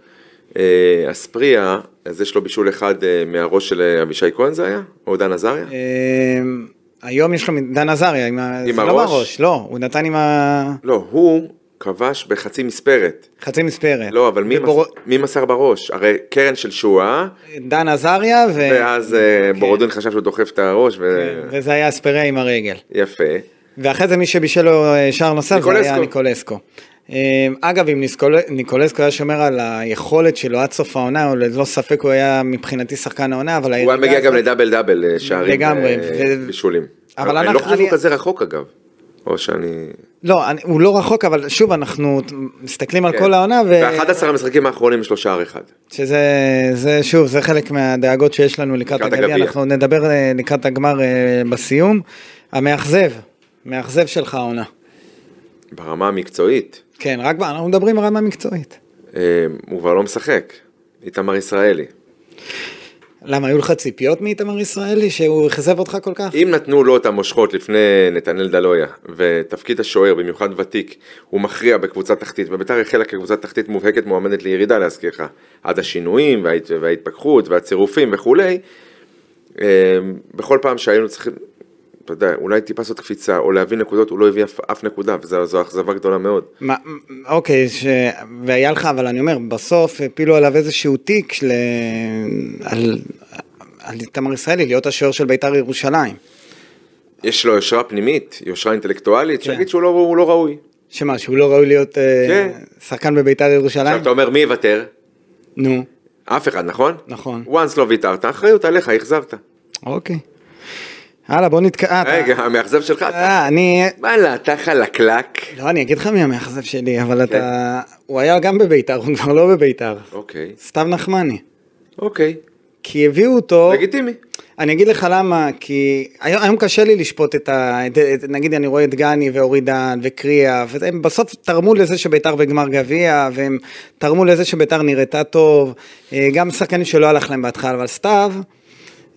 Speaker 3: אה, אספריה, אז יש לו בישול אחד אה, מהראש של אה, אבישי כהן זה היה? או דן עזריה?
Speaker 2: אמ, היום יש לו מ- דן עזריה עם, ה...
Speaker 3: עם
Speaker 2: זה לא
Speaker 3: הראש?
Speaker 2: בראש, לא, הוא נתן עם ה...
Speaker 3: לא, הוא כבש בחצי מספרת.
Speaker 2: חצי מספרת.
Speaker 3: לא, אבל מי,
Speaker 2: ובור-
Speaker 3: מס... מי מסר בראש? הרי קרן של שואה,
Speaker 2: דן עזריה ו...
Speaker 3: ואז אה,
Speaker 2: כן.
Speaker 3: בורודין חשב שהוא דוחף את הראש,
Speaker 2: כן, וזה היה אספריה עם הרגל.
Speaker 3: ויפה.
Speaker 2: ואחרי זה מי שבישל לו אה, שער נוסף זה היה
Speaker 3: ניקולסקו.
Speaker 2: ניקולסקו. אמ, אגב, אם ניסקול- ניקולסקו היה שומר על היכולת שלו עד סוף העונה, הוא ללא ספק הוא היה מבחינתי שחקן העונה, אבל...
Speaker 3: הוא
Speaker 2: הירידה
Speaker 3: היה מגיע גם
Speaker 2: הזאת-
Speaker 3: לדאבל דאבל אה, שערים
Speaker 2: לא לגמרי,
Speaker 3: אה,
Speaker 2: ו-
Speaker 3: בישולים.
Speaker 2: אבל
Speaker 3: אני
Speaker 2: אנחנו-
Speaker 3: לא חושב שהוא
Speaker 2: אני-
Speaker 3: כזה רחוק אגב. או שאני...
Speaker 2: לא, אני- הוא לא רחוק, אבל שוב, אנחנו מסתכלים על
Speaker 3: כן.
Speaker 2: כל העונה, ו...
Speaker 3: ב-11 המשחקים האחרונים יש לו שער אחד.
Speaker 2: שזה, זה, שוב, זה חלק מהדאגות שיש לנו לקראת
Speaker 3: לקראת
Speaker 2: הגביע,
Speaker 3: הגביע.
Speaker 2: אנחנו נדבר אה, לקראת הגמר אה, בסיום. המאכזב, מאכזב שלך העונה.
Speaker 3: ברמה המקצועית,
Speaker 2: כן, רק ב- אנחנו מדברים רמה מקצועית.
Speaker 3: אה, הוא כבר לא משחק. איתמר ישראלי.
Speaker 2: למה, היו לך ציפיות מאיתמר ישראלי שהוא אכזב אותך כל כך?
Speaker 3: אם נתנו לו את המושכות לפני נתנאל דלויה, ותפקיד השוער, במיוחד ותיק, הוא מכריע בקבוצה תחתית, וביתר החלה כקבוצת תחתית מובהקת מועמדת לירידה להזכיר לך, עד השינויים וההת... וההתפכחות והצירופים וכולי, אה, בכל פעם שהיינו צריכים, אתה יודע, אולי טיפה לעשות קפיצה, או להביא נקודות, הוא לא הביא אף, אף נקודה, וזו אכזבה גדולה מאוד.
Speaker 2: מה, אוקיי, ש... והיה לך, אבל אני אומר, בסוף הפילו עליו איזשהו תיק ל... על... על איתמר ישראלי להיות השוער של בית"ר ירושלים.
Speaker 3: יש לו יושרה פנימית, יושרה אינטלקטואלית,
Speaker 2: כן.
Speaker 3: שיגיד שהוא לא, הוא לא ראוי.
Speaker 2: שמה, שהוא לא ראוי להיות אה,
Speaker 3: כן.
Speaker 2: שחקן בבית"ר ירושלים?
Speaker 3: עכשיו אתה אומר, מי יוותר?
Speaker 2: נו,
Speaker 3: אף אחד, נכון?
Speaker 2: נכון.
Speaker 3: once לא ויתרת, האחריות עליך, אכזבת.
Speaker 2: אוקיי. הלאה, בוא נתקע...
Speaker 3: רגע, [LAUGHS] המאכזב שלך, אתה
Speaker 2: אה, אני...
Speaker 3: וואלה, אתה חלקלק.
Speaker 2: לא, אני אגיד לך מי המאכזב שלי,
Speaker 3: כן.
Speaker 2: אבל אתה... הוא היה גם בביתר, הוא כבר לא בביתר.
Speaker 3: אוקיי,
Speaker 2: סתיו נחמני.
Speaker 3: אוקיי,
Speaker 2: כי הביאו אותו...
Speaker 3: לגיטימי.
Speaker 2: אני אגיד לך למה, כי היום, היום קשה לי לשפוט את ה... את, את, נגיד אני רואה את גני ואורי דן וקריאה, והם בסוף תרמו לזה שביתר בגמר גביע, והם תרמו לזה שביתר נראתה טוב, אה, גם שחקנים שלא הלך להם בהתחלה, אבל סתיו,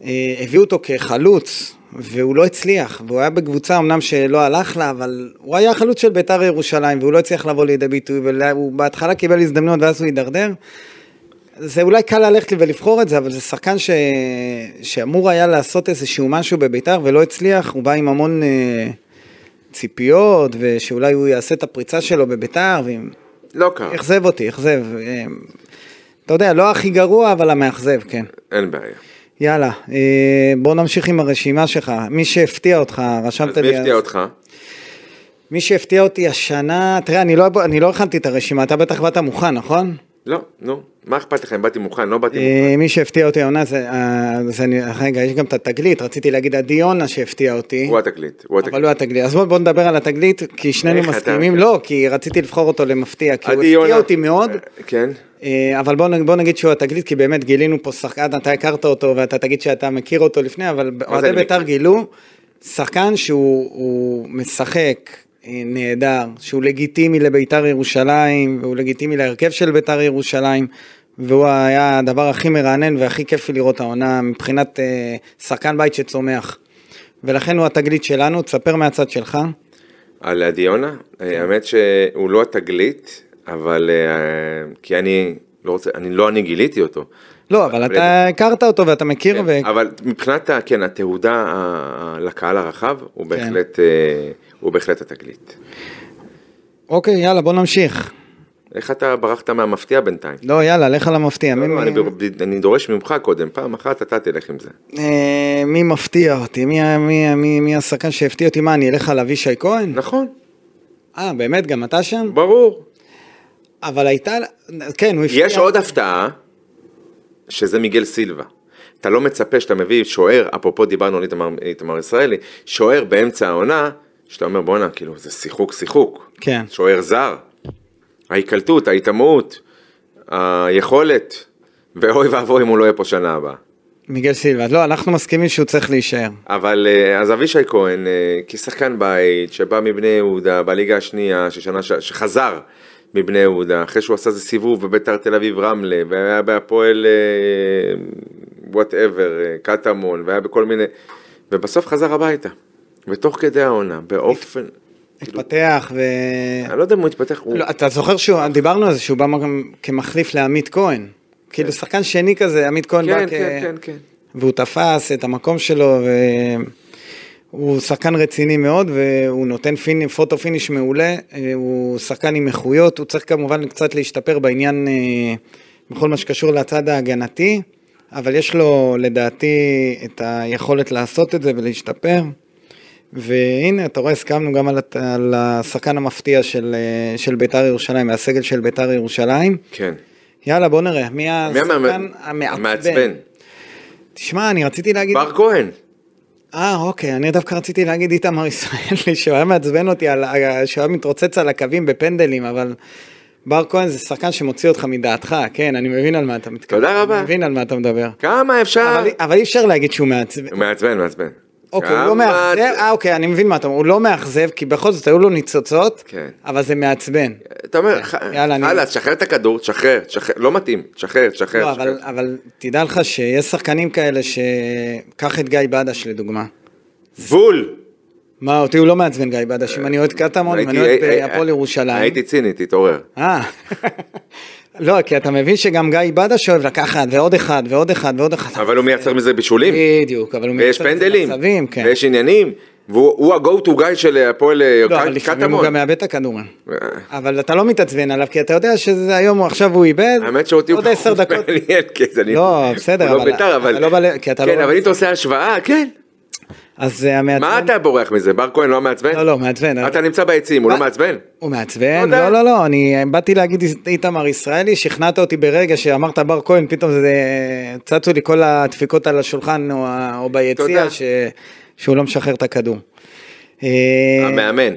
Speaker 2: אה, הביאו אותו כחלוץ, והוא לא הצליח, והוא היה בקבוצה אמנם שלא הלך לה, אבל הוא היה החלוץ של ביתר ירושלים, והוא לא הצליח לבוא לידי ביטוי, והוא בהתחלה קיבל הזדמנות ואז הוא הידרדר. זה אולי קל ללכת לי ולבחור את זה, אבל זה שחקן ש... שאמור היה לעשות איזשהו משהו בביתר ולא הצליח, הוא בא עם המון אה, ציפיות, ושאולי הוא יעשה את הפריצה שלו בביתר, ואם...
Speaker 3: לא קרה,
Speaker 2: אכזב אותי, אכזב. אה, אתה יודע, לא הכי גרוע, אבל המאכזב, כן.
Speaker 3: אין בעיה.
Speaker 2: יאללה, אה, בוא נמשיך עם הרשימה שלך. מי שהפתיע אותך, רשמת
Speaker 3: אז
Speaker 2: לי...
Speaker 3: מי הפתיע אותך?
Speaker 2: מי שהפתיע אותי השנה, תראה, אני לא, אני לא הכנתי את הרשימה, אתה בטח באת מוכן, נכון?
Speaker 3: לא, נו, מה אכפת לכם? באתי מוכן, לא באתי מוכן.
Speaker 2: אה, מי שהפתיע אותי העונה זה, אה, זה אני- רגע, יש גם את התגלית, רציתי להגיד עדי יונה שהפתיע אותי,
Speaker 3: הוא התקליט,
Speaker 2: אבל
Speaker 3: הוא התקליט.
Speaker 2: הוא התגלית, אז בוא בוא נדבר על התגלית, כי שנינו
Speaker 3: איך אתה-
Speaker 2: מסכימים, לא, כי רציתי לבחור אותו למפתיע, כי הוא
Speaker 3: עדי
Speaker 2: הפתיע
Speaker 3: יונה.
Speaker 2: אותי מאוד,
Speaker 3: אה, כן,
Speaker 2: אה, אבל בוא נ- בוא נגיד שהוא התגלית, כי באמת גילינו פה שחקן, אתה הכרת אותו ואתה תגיד שאתה מכיר אותו לפני, אבל אוהדי
Speaker 3: אני
Speaker 2: בית"ר
Speaker 3: מכיר?
Speaker 2: גילו, שחקן שהוא הוא משחק. אה, נהדר, שהוא לגיטימי לביתר ירושלים, והוא לגיטימי להרכב של ביתר ירושלים, והוא היה הדבר הכי מרענן והכי כיפי לראות העונה מבחינת אה, שחקן בית שצומח. ולכן הוא התגלית שלנו, תספר מהצד שלך.
Speaker 3: על עדי יונה.
Speaker 2: כן.
Speaker 3: אה, האמת שהוא לא התקליט, אבל אה, כי אני לא רוצה, אני לא אני גיליתי אותו.
Speaker 2: לא, אבל אתה הכרת אותו ואתה מכיר,
Speaker 3: כן,
Speaker 2: ו...
Speaker 3: אבל מבחינת, ה- כן, התהודה ה- ה- לקהל הרחב,
Speaker 2: כן.
Speaker 3: הוא בהחלט, אה, הוא בהחלט התקליט.
Speaker 2: אוקיי, יאללה, בוא נמשיך.
Speaker 3: איך אתה ברחת מהמפתיע בינתיים?
Speaker 2: לא, יאללה, לך למפתיע. מי-
Speaker 3: לא, לא,
Speaker 2: מי-
Speaker 3: אני ב- אני דורש ממך קודם, פעם אחת אתה תלך עם זה.
Speaker 2: אה, מי מפתיע אותי? מי, ה- מי, ה- מי, מי השחקן שהפתיע אותי? מה, אני אלך על אבישי כהן?
Speaker 3: נכון,
Speaker 2: אה, באמת? גם אתה שם?
Speaker 3: ברור.
Speaker 2: אבל הייתה... כן, הוא הפתיע.
Speaker 3: יש עוד הפתעה, שזה מיגל סילבה. אתה לא מצפה שאתה מביא שוער, אפרופו דיברנו על איתמר- איתמר ישראלי, שוער באמצע העונה, שאתה אומר בואנה, כאילו זה שיחוק שיחוק.
Speaker 2: כן.
Speaker 3: שוער זר. ההיקלטות, ההיטמעות, היכולת, ואוי ואבוי אם הוא לא יהיה פה שנה הבאה.
Speaker 2: מיגל סילבה, לא, אנחנו מסכימים שהוא צריך להישאר.
Speaker 3: אבל אה, אז אבישי כהן, אה, כשחקן בית, שבא מבני יהודה, בליגה השנייה, ששנה ש... שחזר מבני יהודה, אחרי שהוא עשה איזה סיבוב בביתר תל אביב רמלה, והיה בהפועל וואטאבר, קטמון, והיה בכל מיני, ובסוף חזר הביתה. ותוך כדי העונה, באופן,
Speaker 2: התפתח ו...
Speaker 3: אני כאילו- לא יודע אם הוא התפתח, הוא...
Speaker 2: לא, אתה זוכר שדיברנו על זה שהוא בא גם כמחליף לעמית כהן. כאילו שחקן שני כזה, עמית כהן בא
Speaker 3: כן,
Speaker 2: כ...
Speaker 3: כן, כן, כן.
Speaker 2: והוא תפס את המקום שלו, והוא שחקן רציני מאוד, והוא נותן פיני, פוטו פיניש מעולה, אה, הוא שחקן עם איכויות, הוא צריך כמובן קצת להשתפר בעניין, אה, בכל מה שקשור לצד ההגנתי, אבל יש לו לדעתי את היכולת לעשות את זה ולהשתפר. והנה, אתה רואה, הסכמנו גם על, הת- על השחקן המפתיע של, אה, של בית"ר ירושלים, מהסגל של בית"ר ירושלים.
Speaker 3: כן.
Speaker 2: יאללה, בוא נראה, מי
Speaker 3: מי
Speaker 2: השחקן המעצבן?
Speaker 3: המעצבן?
Speaker 2: תשמע, אני רציתי להגיד...
Speaker 3: בר כהן.
Speaker 2: אה, אוקיי, אני דווקא רציתי להגיד איתמר ישראלי, [LAUGHS] שהוא היה מעצבן אותי, על, שהוא היה מתרוצץ על הקווים בפנדלים, אבל בר כהן זה שחקן שמוציא אותך מדעתך, כן, אני מבין על מה אתה מתכוון.
Speaker 3: תודה רבה. אה.
Speaker 2: אני מבין על מה אתה מדבר.
Speaker 3: כמה אפשר?
Speaker 2: אבל, אבל אי אפשר להגיד שהוא מעצבן.
Speaker 3: הוא מעצבן, מעצבן.
Speaker 2: אוקיי, הוא
Speaker 3: כמה-
Speaker 2: לא מאכזב, אה, אוקיי, אני מבין מה אתה אומר, הוא לא מאכזב, כי בכל זאת היו לו ניצוצות,
Speaker 3: כן.
Speaker 2: אבל זה מעצבן.
Speaker 3: אתה אומר,
Speaker 2: כן. יאללה, אני-
Speaker 3: יאללה, תשחרר את הכדור, תשחרר, תשחרר, לא מתאים, תשחרר, תשחרר.
Speaker 2: לא, אבל,
Speaker 3: תשחרר.
Speaker 2: אבל תדע לך שיש שחקנים כאלה ש... קח את גיא בדש לדוגמה.
Speaker 3: בול!
Speaker 2: מה, אותי הוא לא מעצבן גיא בדש, אם אני אוהד קטמון, אם
Speaker 3: הייתי-
Speaker 2: אני אוהד
Speaker 3: הי-
Speaker 2: אה, הפועל ירושלים.
Speaker 3: הייתי ציני, תתעורר.
Speaker 2: אה. [LAUGHS] לא, כי אתה מבין שגם גיא בדש אוהב לקחת ועוד אחד ועוד אחד ועוד אחד.
Speaker 3: אבל הוא מייצר מזה בישולים,
Speaker 2: בדיוק, אבל אה, הוא
Speaker 3: ויש
Speaker 2: מייצר את
Speaker 3: פנדלים,
Speaker 2: המצבים, כן.
Speaker 3: ויש עניינים, והוא הוא ה-go to guy של הפועל אה,
Speaker 2: לא, אבל
Speaker 3: ק-
Speaker 2: לפעמים הוא
Speaker 3: קטמון.
Speaker 2: גם מאבד את הכדורים.
Speaker 3: אה,
Speaker 2: אבל אתה לא מתעצבן עליו, כי אתה יודע שזה היום, הוא- עכשיו הוא איבד,
Speaker 3: האמת שאותי הוא
Speaker 2: עוד עשר
Speaker 3: פחות
Speaker 2: דקות.
Speaker 3: מעניין, כי זה אני...
Speaker 2: לא, בסדר,
Speaker 3: הוא לא
Speaker 2: אבל-
Speaker 3: בית"ר, אבל...
Speaker 2: אתה לא בא- כי אתה לא
Speaker 3: כן,
Speaker 2: בא-
Speaker 3: אבל אם אתה עושה השוואה, כן.
Speaker 2: אז זה המעצבן.
Speaker 3: מה אתה בורח מזה? בר כהן לא מעצבן?
Speaker 2: לא, לא, מעצבן.
Speaker 3: אתה נמצא ביציעים, הוא
Speaker 2: מה?
Speaker 3: לא מעצבן?
Speaker 2: הוא מעצבן?
Speaker 3: לא יודע.
Speaker 2: לא, לא, לא, אני באתי להגיד איתמר ישראלי, שכנעת אותי ברגע שאמרת בר כהן, פתאום זה, צצו לי כל הדפיקות על השולחן או, ה- או ביציע,
Speaker 3: תודה.
Speaker 2: ש, שהוא לא משחרר את הכדור. אה,
Speaker 3: המאמן.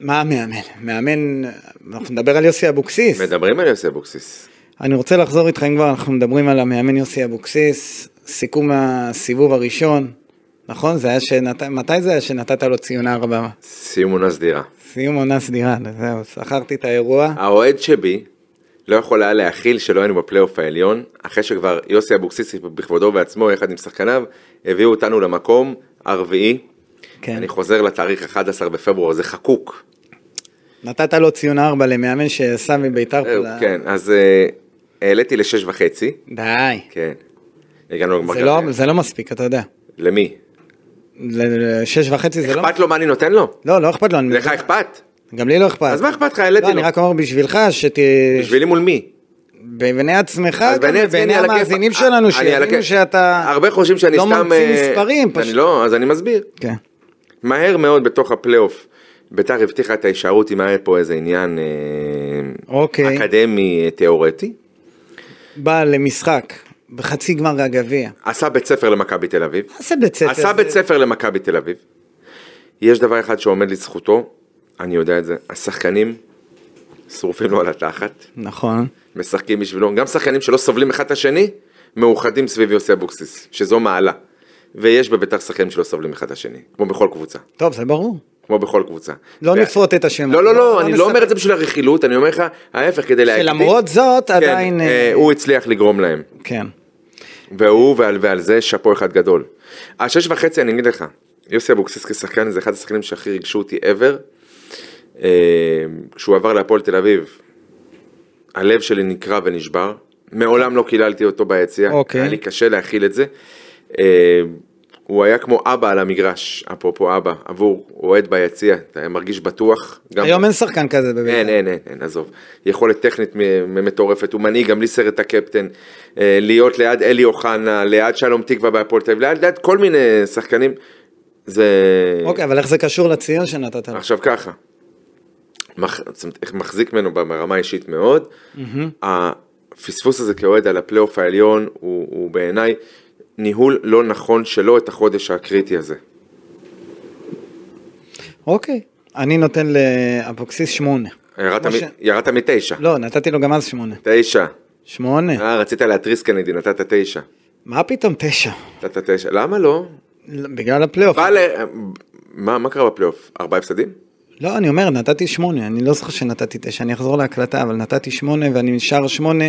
Speaker 2: מה המאמן? מאמן, אנחנו נדבר על יוסי אבוקסיס.
Speaker 3: מדברים על יוסי אבוקסיס.
Speaker 2: אני רוצה לחזור איתך, אם כבר אנחנו מדברים על המאמן יוסי אבוקסיס, סיכום הסיבוב הראשון, נכון? זה היה שנת... מתי זה היה שנתת לו ציון ארבע?
Speaker 3: סיום עונה סדירה.
Speaker 2: סיום עונה סדירה, זהו, שכרתי את האירוע.
Speaker 3: האוהד שבי לא יכול היה להכיל שלא היינו בפלייאוף העליון, אחרי שכבר יוסי אבוקסיס בכבודו ובעצמו, יחד עם שחקניו, הביאו אותנו למקום הרביעי.
Speaker 2: כן.
Speaker 3: אני חוזר לתאריך 11 בפברואר, זה חקוק.
Speaker 2: נתת לו ציון 4 למאמן ששם מביתר
Speaker 3: זהו,
Speaker 2: פה. ל-
Speaker 3: כן, אז אה, העליתי לשש וחצי,
Speaker 2: די.
Speaker 3: כן. הגענו לגמר
Speaker 2: זה לא-
Speaker 3: גביע.
Speaker 2: זה לא מספיק, אתה יודע.
Speaker 3: למי?
Speaker 2: ל- ל- שש וחצי זה לא...
Speaker 3: אכפת לו מה אני נותן לו?
Speaker 2: לא, לא אכפת לו. אני-
Speaker 3: לך אכפת?
Speaker 2: גם לי לא אכפת.
Speaker 3: אז מה אכפת לך? העליתי
Speaker 2: לא,
Speaker 3: לו.
Speaker 2: אני רק אומר בשבילך, שת...
Speaker 3: בשבילי מול מי?
Speaker 2: אה, כן, בעיני עצמך,
Speaker 3: אז
Speaker 2: גם,
Speaker 3: בעיני עצמי
Speaker 2: ובעיני
Speaker 3: אני על הכיפאק.
Speaker 2: המאזינים
Speaker 3: אני
Speaker 2: שלנו,
Speaker 3: על
Speaker 2: שיבינו
Speaker 3: הכיפאק.
Speaker 2: שאתה...
Speaker 3: הרבה חושבים שאני
Speaker 2: לא
Speaker 3: סתם...
Speaker 2: ממציא
Speaker 3: אה,
Speaker 2: מספרים,
Speaker 3: אני
Speaker 2: פשוט.
Speaker 3: לא, אז אני מסביר.
Speaker 2: כן.
Speaker 3: מהר מאוד בתוך הפלייאוף, ביתר הבטיחה את ההישארות אם היה פה איזה עניין אה,
Speaker 2: אוקיי.
Speaker 3: אקדמי אה, תיאורטי.
Speaker 2: בא למשחק, בחצי גמר הגביע.
Speaker 3: עשה בית ספר למכבי תל אביב.
Speaker 2: עשה בית ספר.
Speaker 3: עשה בית ספר למכבי תל אביב. יש דבר אחד שעומד לזכותו, אני יודע את זה, השחקנים שורפים לו על התחת,
Speaker 2: נכון.
Speaker 3: משחקים בשבילו, גם שחקנים שלא סובלים אחד את השני, מאוחדים סביב יוסי אבוקסיס, שזו מעלה. ויש בביתר שחקנים שלא סובלים אחד את השני, כמו בכל קבוצה.
Speaker 2: טוב, זה ברור.
Speaker 3: כמו בכל קבוצה.
Speaker 2: לא
Speaker 3: ו-
Speaker 2: נפרוט את השמות.
Speaker 3: לא, לא, לא, אני לא
Speaker 2: נספר.
Speaker 3: אומר את זה בשביל הרכילות, אני אומר לך, ההפך, כדי להגדיל.
Speaker 2: שלמרות זאת,
Speaker 3: כן,
Speaker 2: עדיין... אה,
Speaker 3: אה, הוא הצליח לגרום להם.
Speaker 2: כן.
Speaker 3: והוא ועל, ועל זה שאפו אחד גדול. השש וחצי אני אגיד לך, יוסי אבוקסיס כשחקן זה אחד השחקנים שהכי ריגשו אותי ever. אה, כשהוא עבר להפועל תל אביב, הלב שלי נקרע ונשבר, מעולם לא קיללתי אותו ביציע,
Speaker 2: אוקיי.
Speaker 3: היה לי קשה להכיל את זה. אה, הוא היה כמו אבא על המגרש, אפרופו אבא, עבור אוהד ביציע, אתה מרגיש בטוח. גם-
Speaker 2: היום אין שחקן כזה בבית"ר.
Speaker 3: אין, אין, אין, אין, עזוב. יכולת טכנית מ- מ- מטורפת, הוא מנהיג גם בלי סרט הקפטן. אה, להיות ליד אלי אוחנה, ליד שלום תקווה בהפועל תל אביב, ליד, ליד כל מיני שחקנים. זה...
Speaker 2: אוקיי, אבל איך זה קשור לציון שנתת לו?
Speaker 3: עכשיו ככה. מח... זאת אומרת, איך מחזיק ממנו ברמה האישית מאוד. הפספוס הזה כאוהד על הפלייאוף העליון הוא, הוא בעיניי ניהול לא נכון שלו את החודש הקריטי הזה.
Speaker 2: אוקיי. אני נותן לאבוקסיס שמונה.
Speaker 3: ירדת,
Speaker 2: כמו
Speaker 3: מ...
Speaker 2: ש-
Speaker 3: ירדת מתשע.
Speaker 2: לא, נתתי לו גם אז שמונה.
Speaker 3: תשע.
Speaker 2: שמונה.
Speaker 3: אה, רצית להתריס קנדי, נתת תשע.
Speaker 2: מה פתאום תשע?
Speaker 3: אתה תשע, למה לא?
Speaker 2: בגלל הפלייאוף.
Speaker 3: בא ל... מה, מה קרה בפלייאוף? ארבעה הפסדים?
Speaker 2: לא, אני אומר, נתתי שמונה, אני לא זוכר שנתתי תשע, אני אחזור להקלטה, אבל נתתי שמונה ואני נשאר שמונה,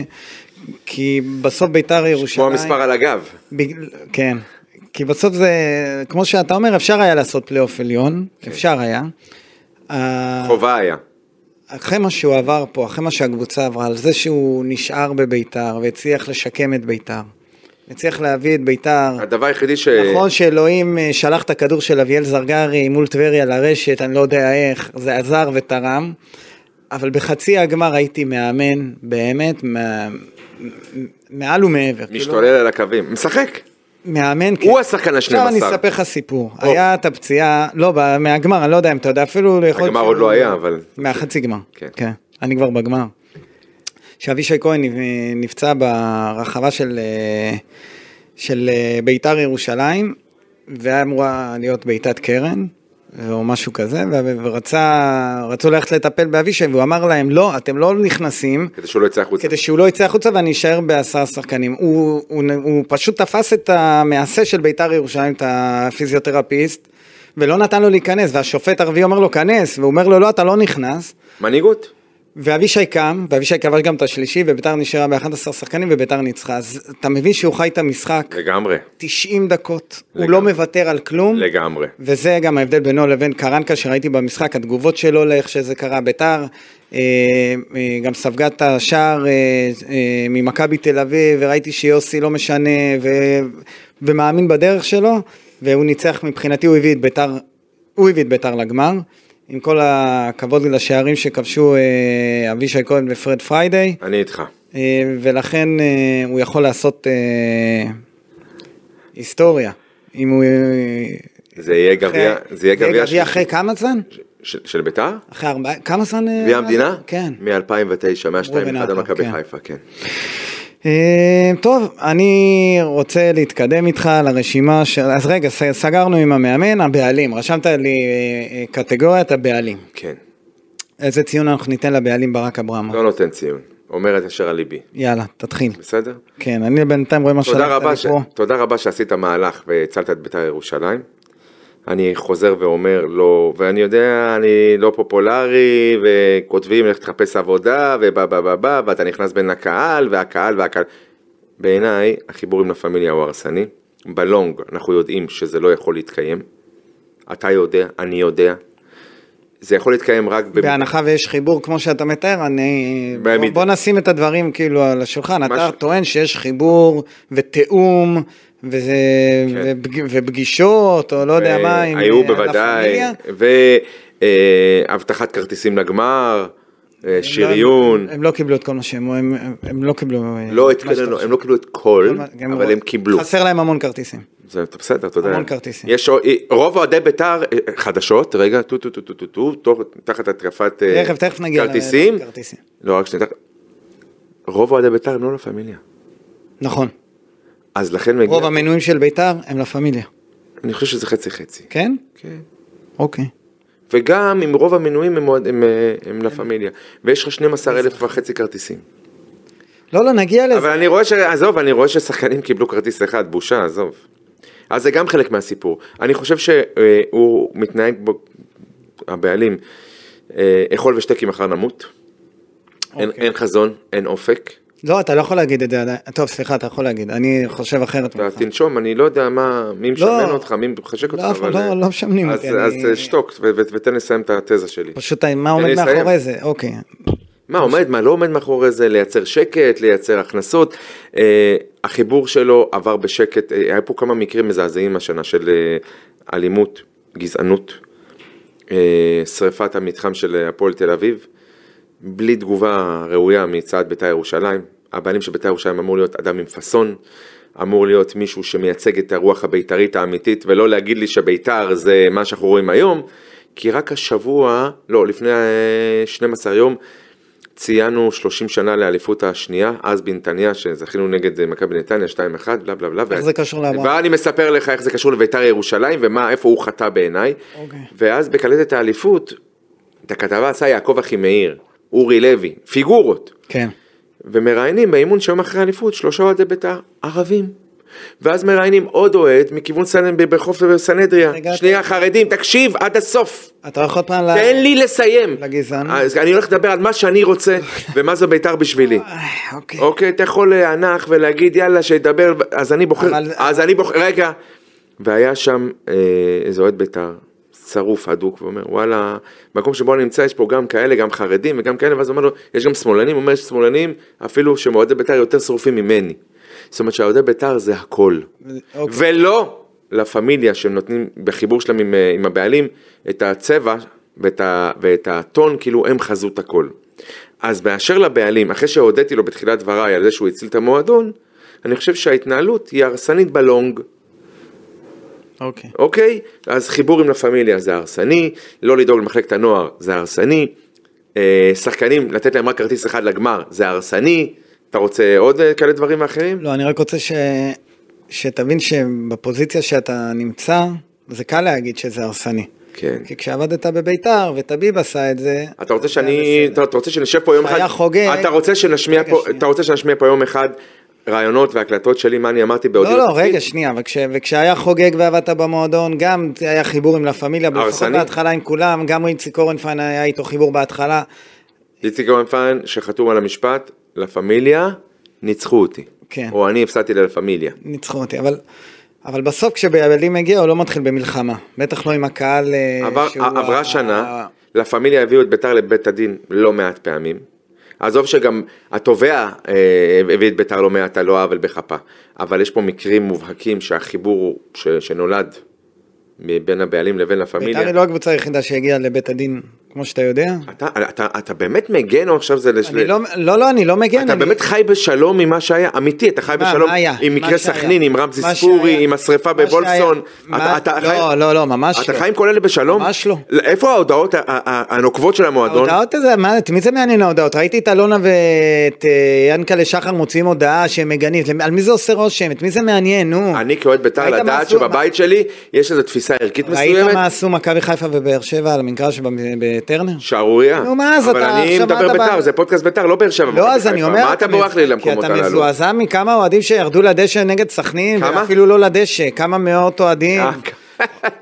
Speaker 2: כי בסוף ביתר
Speaker 3: כמו
Speaker 2: ירושלים...
Speaker 3: המספר על הגב.
Speaker 2: בגלל, כן, כי בסוף זה, כמו שאתה אומר, אפשר היה לעשות פלייאוף עליון, כן. אפשר היה. אה,
Speaker 3: חובה היה.
Speaker 2: אחרי מה שהוא עבר פה, אחרי מה שהקבוצה עברה, על זה שהוא נשאר בביתר והצליח לשקם את ביתר, הצליח להביא את ביתר...
Speaker 3: הדבר היחידי ש...
Speaker 2: נכון שאלוהים אה, שלח את הכדור של אביאל זרגרי מול טבריה לרשת, אני לא יודע איך, זה עזר ותרם, אבל בחצי הגמר הייתי מאמן, באמת, מה- מעל ומעבר. כאילו,
Speaker 3: משתולל על הקווים. משחק.
Speaker 2: מאמן, כן.
Speaker 3: הוא השחקן
Speaker 2: עכשיו אני
Speaker 3: ה-12.
Speaker 2: אספר לך סיפור.
Speaker 3: או.
Speaker 2: היה את הפציעה, לא, ב- מהגמר, אני לא יודע אם אתה יודע, אפילו... יכול
Speaker 3: הגמר
Speaker 2: להיות
Speaker 3: עוד
Speaker 2: שהוא-
Speaker 3: לא היה, אבל...
Speaker 2: מהחצי גמר.
Speaker 3: כן.
Speaker 2: כן. אני כבר בגמר. שאבישי כהן נפ- נפצע ברחבה של, אה, של אה, ביתר ירושלים, והיה אמורה להיות בעיטת קרן, או משהו כזה, ו- ורצה, רצו ללכת לטפל באבישי, והוא אמר להם, לא, אתם לא נכנסים,
Speaker 3: כדי שהוא לא יצא החוצה.
Speaker 2: כדי שהוא לא יצא החוצה ואני אשאר בעשרה שחקנים. הוא, הוא, הוא פשוט תפס את המעשה של ביתר ירושלים, את הפיזיותרפיסט, ולא נתן לו להיכנס, והשופט ערבי אומר לו, כנס, והוא אומר לו, לא, אתה לא נכנס.
Speaker 3: מנהיגות.
Speaker 2: ואבישי קם, ואבישי כבש גם את השלישי, וביתר נשארה ב-11 שחקנים וביתר ניצחה. אז אתה מבין שהוא חי את המשחק
Speaker 3: לגמרי.
Speaker 2: 90 דקות, הוא
Speaker 3: לגמרי.
Speaker 2: לא מוותר על כלום.
Speaker 3: לגמרי.
Speaker 2: וזה גם ההבדל בינו לבין קרנקה שראיתי במשחק, התגובות שלו לאיך שזה קרה. ביתר אה, אה, גם ספגה את השער אה, אה, ממכבי תל אביב, וראיתי שיוסי לא משנה ו, ומאמין בדרך שלו, והוא ניצח מבחינתי, הוא הביא את ביתר, הוא הביא את ביתר לגמר. עם כל הכבוד לשערים שכבשו אה, אבישי כהן ופרד פריידי,
Speaker 3: אני איתך.
Speaker 2: אה, ולכן אה, הוא יכול לעשות אה, היסטוריה. אם הוא... אה,
Speaker 3: זה יהיה גביע... זה יהיה גביע...
Speaker 2: גביע
Speaker 3: של-
Speaker 2: אחרי כמה זמן?
Speaker 3: של- של ביתר?
Speaker 2: אחרי ארבע... כמה זמן? אה,
Speaker 3: גביע המדינה?
Speaker 2: כן.
Speaker 3: מ-2009,
Speaker 2: ראובן
Speaker 3: 102-1
Speaker 2: עטר,
Speaker 3: למכבי
Speaker 2: כן.
Speaker 3: חיפה, כן.
Speaker 2: אה, טוב, אני רוצה להתקדם איתך לרשימה של... אז רגע, ס- סגרנו עם המאמן, הבעלים. רשמת לי אה, אה, קטגוריית הבעלים.
Speaker 3: כן.
Speaker 2: איזה ציון אנחנו ניתן לבעלים ברק אברמוב?
Speaker 3: לא נותן ציון. אומר את אשר על ליבי.
Speaker 2: יאללה, תתחיל.
Speaker 3: בסדר?
Speaker 2: כן, אני בינתיים רואה מה
Speaker 3: תודה
Speaker 2: שלחת
Speaker 3: רבה,
Speaker 2: לי
Speaker 3: ש...
Speaker 2: פה.
Speaker 3: תודה רבה שעשית מהלך והצלת את בית"ר ירושלים. אני חוזר ואומר לא, ואני יודע, אני לא פופולרי, וכותבים לך תחפש עבודה, ובא בא בא בא, ואתה נכנס בין הקהל, והקהל והקהל. בעיניי, החיבור עם לה פמיליה הוא הרסני. בלונג, אנחנו יודעים שזה לא יכול להתקיים. אתה יודע, אני יודע. זה יכול להתקיים רק במ-
Speaker 2: בהנחה ויש חיבור כמו שאתה מתאר, אני...
Speaker 3: במידה.
Speaker 2: בוא נשים את הדברים כאילו על השולחן,
Speaker 3: מה
Speaker 2: אתה
Speaker 3: ש-
Speaker 2: טוען שיש חיבור ותיאום וזה... ופג- ופגישות או לא יודע מה, עם אה,
Speaker 3: כן. היו
Speaker 2: לה
Speaker 3: בוודאי,
Speaker 2: פמיליה.
Speaker 3: והבטחת כרטיסים לגמר, אה, שריון,
Speaker 2: הם לא- הם לא קיבלו את כל מה שהם... הם- הם- הם לא קיבלו... אה,
Speaker 3: לא
Speaker 2: מה
Speaker 3: את כל-
Speaker 2: שאתה
Speaker 3: לא,
Speaker 2: חושב.
Speaker 3: הם לא קיבלו את כל,
Speaker 2: הם-
Speaker 3: אבל הם קיבלו.
Speaker 2: חסר להם המון כרטיסים.
Speaker 3: זה בסדר, אתה יודע.
Speaker 2: המון כרטיסים.
Speaker 3: יש עוד- אה, רוב אוהדי בית"ר, אה, חדשות, רגע, טו טו טו טו טו טו, תוך- תחת התקפת אה,
Speaker 2: תכף, תכף נגיע... ל-
Speaker 3: כרטיסים.
Speaker 2: כרטיסים.
Speaker 3: לא, רק שנייה. תח- רוב אוהדי בית"ר הם לא לה פמיליה.
Speaker 2: נכון.
Speaker 3: אז לכן מגיע,
Speaker 2: רוב המנויים של ביתר הם לה פמיליה.
Speaker 3: אני חושב שזה חצי חצי.
Speaker 2: כן?
Speaker 3: כן.
Speaker 2: אוקיי.
Speaker 3: וגם עם רוב המנויים הם אוהד- הם, אה, הם לה פמיליה. ויש לך 12 אלף וחצי כרטיסים.
Speaker 2: לא, לא, נגיע לזה.
Speaker 3: אבל אני רואה ש... עזוב, אני רואה ששחקנים קיבלו כרטיס אחד, בושה, עזוב. אז זה גם חלק מהסיפור. אני חושב שהוא אה, מתנהג, ב... הבעלים, אה, אכול ושתה כי מחר נמות. אין,
Speaker 2: אוקיי.
Speaker 3: אין חזון, אין אופק.
Speaker 2: לא, אתה לא יכול להגיד את זה עדיין. טוב, סליחה, אתה יכול להגיד. אני חושב אחרת
Speaker 3: אתה
Speaker 2: ממך.
Speaker 3: תנשום, אני לא יודע מה, מי משמן אותך, מי מחשק אותך,
Speaker 2: נכון. לא, אף אחד
Speaker 3: אבל, אה,
Speaker 2: לא- לא משמנים
Speaker 3: אז-
Speaker 2: אותי,
Speaker 3: אז
Speaker 2: אני-
Speaker 3: אה, שתוק ו- ו- ותן לסיים את התזה שלי.
Speaker 2: פשוט מה
Speaker 3: תן לי
Speaker 2: עומד
Speaker 3: לסיים.
Speaker 2: מאחורי זה, אוקיי.
Speaker 3: מה עומד, מה לא עומד מאחורי זה, לייצר שקט, לייצר הכנסות. אה, החיבור שלו עבר בשקט, אה, היה פה כמה מקרים מזעזעים השנה של אה, אלימות, גזענות, אה, שריפת המתחם של אה, הפועל תל אביב, בלי תגובה ראויה מצד בית"ר ירושלים. הבעלים של בית"ר ירושלים אמור להיות אדם עם פאסון, אמור להיות מישהו שמייצג את הרוח הבית"רית האמיתית, ולא להגיד לי שבית"ר זה מה שאנחנו רואים היום, כי רק השבוע, לא, לפני אה, 12 יום, ציינו 30 שנה לאליפות השנייה, אז בנתניה, שזכינו נגד אה, מכבי נתניה 2-1, בלה בלה בלה.
Speaker 2: איך זה קשור לעבר?
Speaker 3: ואני מספר לך איך זה קשור לביתר ירושלים, ומה, איפה הוא חטא בעיניי.
Speaker 2: אוקיי.
Speaker 3: ואז בקלטת האליפות, את הכתבה עשה יעקב אחימאיר, אורי לוי, פיגורות.
Speaker 2: כן.
Speaker 3: ומראיינים באימון שיום אחרי האליפות שלושה אוהדי בית"ר, ערבים. ואז מראיינים עוד אוהד מכיוון סנ... בחוף סנהדריה.
Speaker 2: הגעת.
Speaker 3: שנייה, חרדים, תקשיב, עד הסוף.
Speaker 2: אתה הולך עוד פעם ל...
Speaker 3: תן לי לסיים.
Speaker 2: לגזען.
Speaker 3: אז אני הולך לדבר על מה שאני רוצה ומה זה בית"ר בשבילי.
Speaker 2: אוקיי. אה, אוקיי.
Speaker 3: אוקיי, אתה יכול להנח ולהגיד יאללה שידבר, אז אני בוחר,
Speaker 2: אבל-
Speaker 3: אז אני בוחר, רגע. והיה שם אה, איזה אוהד בית"ר, שרוף, הדוק, ואומר וואלה, מקום שבו אני נמצא יש פה גם כאלה, גם חרדים וגם כאלה, ואז הוא אומר לו, יש גם שמאלנים, הוא אומר יש שמאלנים, אפילו שהם אוהדי בית"ר יותר שרופים ממני. זאת אומרת שהאוהדי בית"ר זה הכל.
Speaker 2: אוקיי.
Speaker 3: ולא לה פמיליה שהם נותנים בחיבור שלהם עם, אה, עם הבעלים את הצבע ואת, ה, ואת הטון כאילו הם חזות הכל. אז באשר לבעלים אחרי שהודיתי לו בתחילת דבריי על זה שהוא הציל את המועדון אני חושב שההתנהלות היא הרסנית בלונג.
Speaker 2: אוקיי.
Speaker 3: אוקיי? אז חיבור עם לה פמיליה זה הרסני, לא לדאוג למחלקת הנוער זה הרסני, אה, שחקנים לתת להם רק כרטיס אחד לגמר זה הרסני, אתה רוצה עוד אה, כאלה דברים אחרים?
Speaker 2: לא, אני רק רוצה ש... שתבין שבפוזיציה שאתה נמצא, זה קל להגיד שזה הרסני.
Speaker 3: כן.
Speaker 2: כי כשעבדת בביתר וטביב עשה את זה,
Speaker 3: אתה
Speaker 2: זה
Speaker 3: רוצה
Speaker 2: היה
Speaker 3: שאני,
Speaker 2: בסדר.
Speaker 3: אתה אתה רוצה שנשב פה יום אחד,
Speaker 2: שהיה חוגג-
Speaker 3: אתה רוצה שנשמיע
Speaker 2: רגע,
Speaker 3: פה,
Speaker 2: שנייה.
Speaker 3: אתה רוצה שנשמיע פה יום אחד רעיונות והקלטות שלי מה אני אמרתי בעודי
Speaker 2: לא, לא,
Speaker 3: בתפקיד?
Speaker 2: רגע, שנייה, אבל כש- וכשהיה חוגג ועבדת במועדון, גם זה היה חיבור עם לה פמיליה, אבל לפחות
Speaker 3: הרסני.
Speaker 2: בהתחלה עם כולם, גם איציק אורנפיין היה איתו חיבור בהתחלה,
Speaker 3: איציק אורנפיין שחתום על המשפט, לה פמיליה, ניצחו אותי,
Speaker 2: כן. אה,
Speaker 3: או אני הפסדתי ללה פמיליה,
Speaker 2: ניצחו אותי, אבל... אבל בסוף כשבעלים הגיע הוא לא מתחיל במלחמה, בטח לא עם הקהל אה,
Speaker 3: עבר-
Speaker 2: שהוא... ה-
Speaker 3: עברה שנה,
Speaker 2: ה-
Speaker 3: לה פמיליה הביאו את ביתר לבית הדין לא מעט פעמים. עזוב שגם התובע אה, הביא את ביתר לא מעט על לא עוול בכפה, אבל יש פה מקרים מובהקים שהחיבור הוא ש- שנולד מבין הבעלים לבין לה פמיליה.
Speaker 2: ביתר היא לא הקבוצה היחידה שהגיעה לבית הדין, כמו שאתה יודע.
Speaker 3: אתה, אתה, אתה באמת מגן או עכשיו זה לשל...
Speaker 2: אני לא, לא, לא, אני לא מגן.
Speaker 3: אתה
Speaker 2: אני...
Speaker 3: באמת חי בשלום עם מה שהיה, אמיתי, אתה חי
Speaker 2: מה,
Speaker 3: בשלום
Speaker 2: מה היה?
Speaker 3: עם
Speaker 2: מה
Speaker 3: מקרה
Speaker 2: שהיה?
Speaker 3: סכנין, עם רמזי
Speaker 2: מה
Speaker 3: ספורי,
Speaker 2: שהיה?
Speaker 3: עם השריפה
Speaker 2: מה
Speaker 3: בוולפסון.
Speaker 2: שהיה? מה-
Speaker 3: אתה- אתה
Speaker 2: לא,
Speaker 3: חי-
Speaker 2: לא, לא, ממש
Speaker 3: אתה
Speaker 2: לא.
Speaker 3: חי עם כל אלה בשלום?
Speaker 2: ממש לא.
Speaker 3: איפה ההודעות ה- ה- ה- הנוקבות של המועדון?
Speaker 2: ההודעות הזה, מה, את מי זה מעניין ההודעות? ראיתי את אלונה ואת אה, ינקלה שחר מוציאים הודעה שהם מגנים, למ- על מי זה עושה רושם? את מי זה מעניין, נו?
Speaker 3: אני כאוהד בית"ר
Speaker 2: ראית מה
Speaker 3: לדעת
Speaker 2: עשו-
Speaker 3: שבבית שלי יש איזו תפיסה ערכית
Speaker 2: ראית מה
Speaker 3: מסוימת,
Speaker 2: עשו מכבי חיפה ובאר שבע על המגרש במ- בטרנר?
Speaker 3: שערורייה.
Speaker 2: נו, מה, אז
Speaker 3: אבל
Speaker 2: אתה-
Speaker 3: אני
Speaker 2: עכשיו מה
Speaker 3: מדבר
Speaker 2: אתה בא-
Speaker 3: בית"ר, זה פודקאסט בית"ר, לא באר שבע.
Speaker 2: לא,
Speaker 3: מכבי
Speaker 2: אז אני
Speaker 3: חיפה.
Speaker 2: אומר,
Speaker 3: מה אתה בורח לי למקומות
Speaker 2: כי אתה
Speaker 3: הללו?
Speaker 2: מזועזע מכמה אוהדים שירדו לדשא נגד סכנין,
Speaker 3: כמה?
Speaker 2: אפילו לא לדשא, כמה מאות אוהדים.
Speaker 3: אה,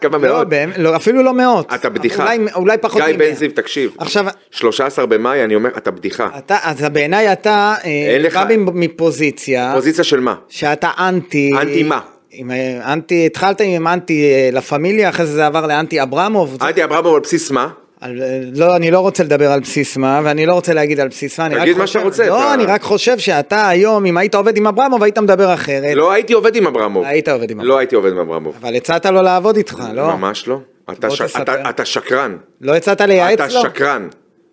Speaker 3: כמה
Speaker 2: לא,
Speaker 3: מאות.
Speaker 2: באמת, לא, אפילו לא מאות.
Speaker 3: אתה בדיחה.
Speaker 2: אולי, אולי פחות
Speaker 3: גיא
Speaker 2: ממאה.
Speaker 3: בן זיו, תקשיב.
Speaker 2: עכשיו,
Speaker 3: 13 במאי, אני אומר, אתה בדיחה.
Speaker 2: אתה, אז בעיניי אתה, אה,
Speaker 3: אין לך-
Speaker 2: בא ממ- מפוזיציה,
Speaker 3: פוזיציה של מה?
Speaker 2: שאתה אנטי,
Speaker 3: אנטי מה?
Speaker 2: עם, אה, אנטי, התחלת עם אנטי אה, לה פמיליה, אחרי זה זה עבר לאנטי אברמוב. זה-
Speaker 3: אנטי אברמוב על בסיס מה?
Speaker 2: על- אה, לא, אני לא רוצה לדבר על בסיס מה, ואני לא רוצה להגיד על בסיס מה, אני רק
Speaker 3: תגיד מה
Speaker 2: חושב-
Speaker 3: שאתה רוצה,
Speaker 2: לא,
Speaker 3: אתה-
Speaker 2: אני רק חושב שאתה היום, אם היית עובד עם אברמוב, היית מדבר אחרת.
Speaker 3: לא הייתי עובד עם אברמוב.
Speaker 2: היית עובד עם אברמוב.
Speaker 3: לא הייתי עובד עם אברמוב.
Speaker 2: אבל הצעת לו לעבוד איתך, לא?
Speaker 3: ממש לא. אתה
Speaker 2: בוא
Speaker 3: ש-
Speaker 2: תספר.
Speaker 3: אתה- אתה שקרן.
Speaker 2: לא הצעת לייעץ
Speaker 3: אתה
Speaker 2: לו?
Speaker 3: שקרן.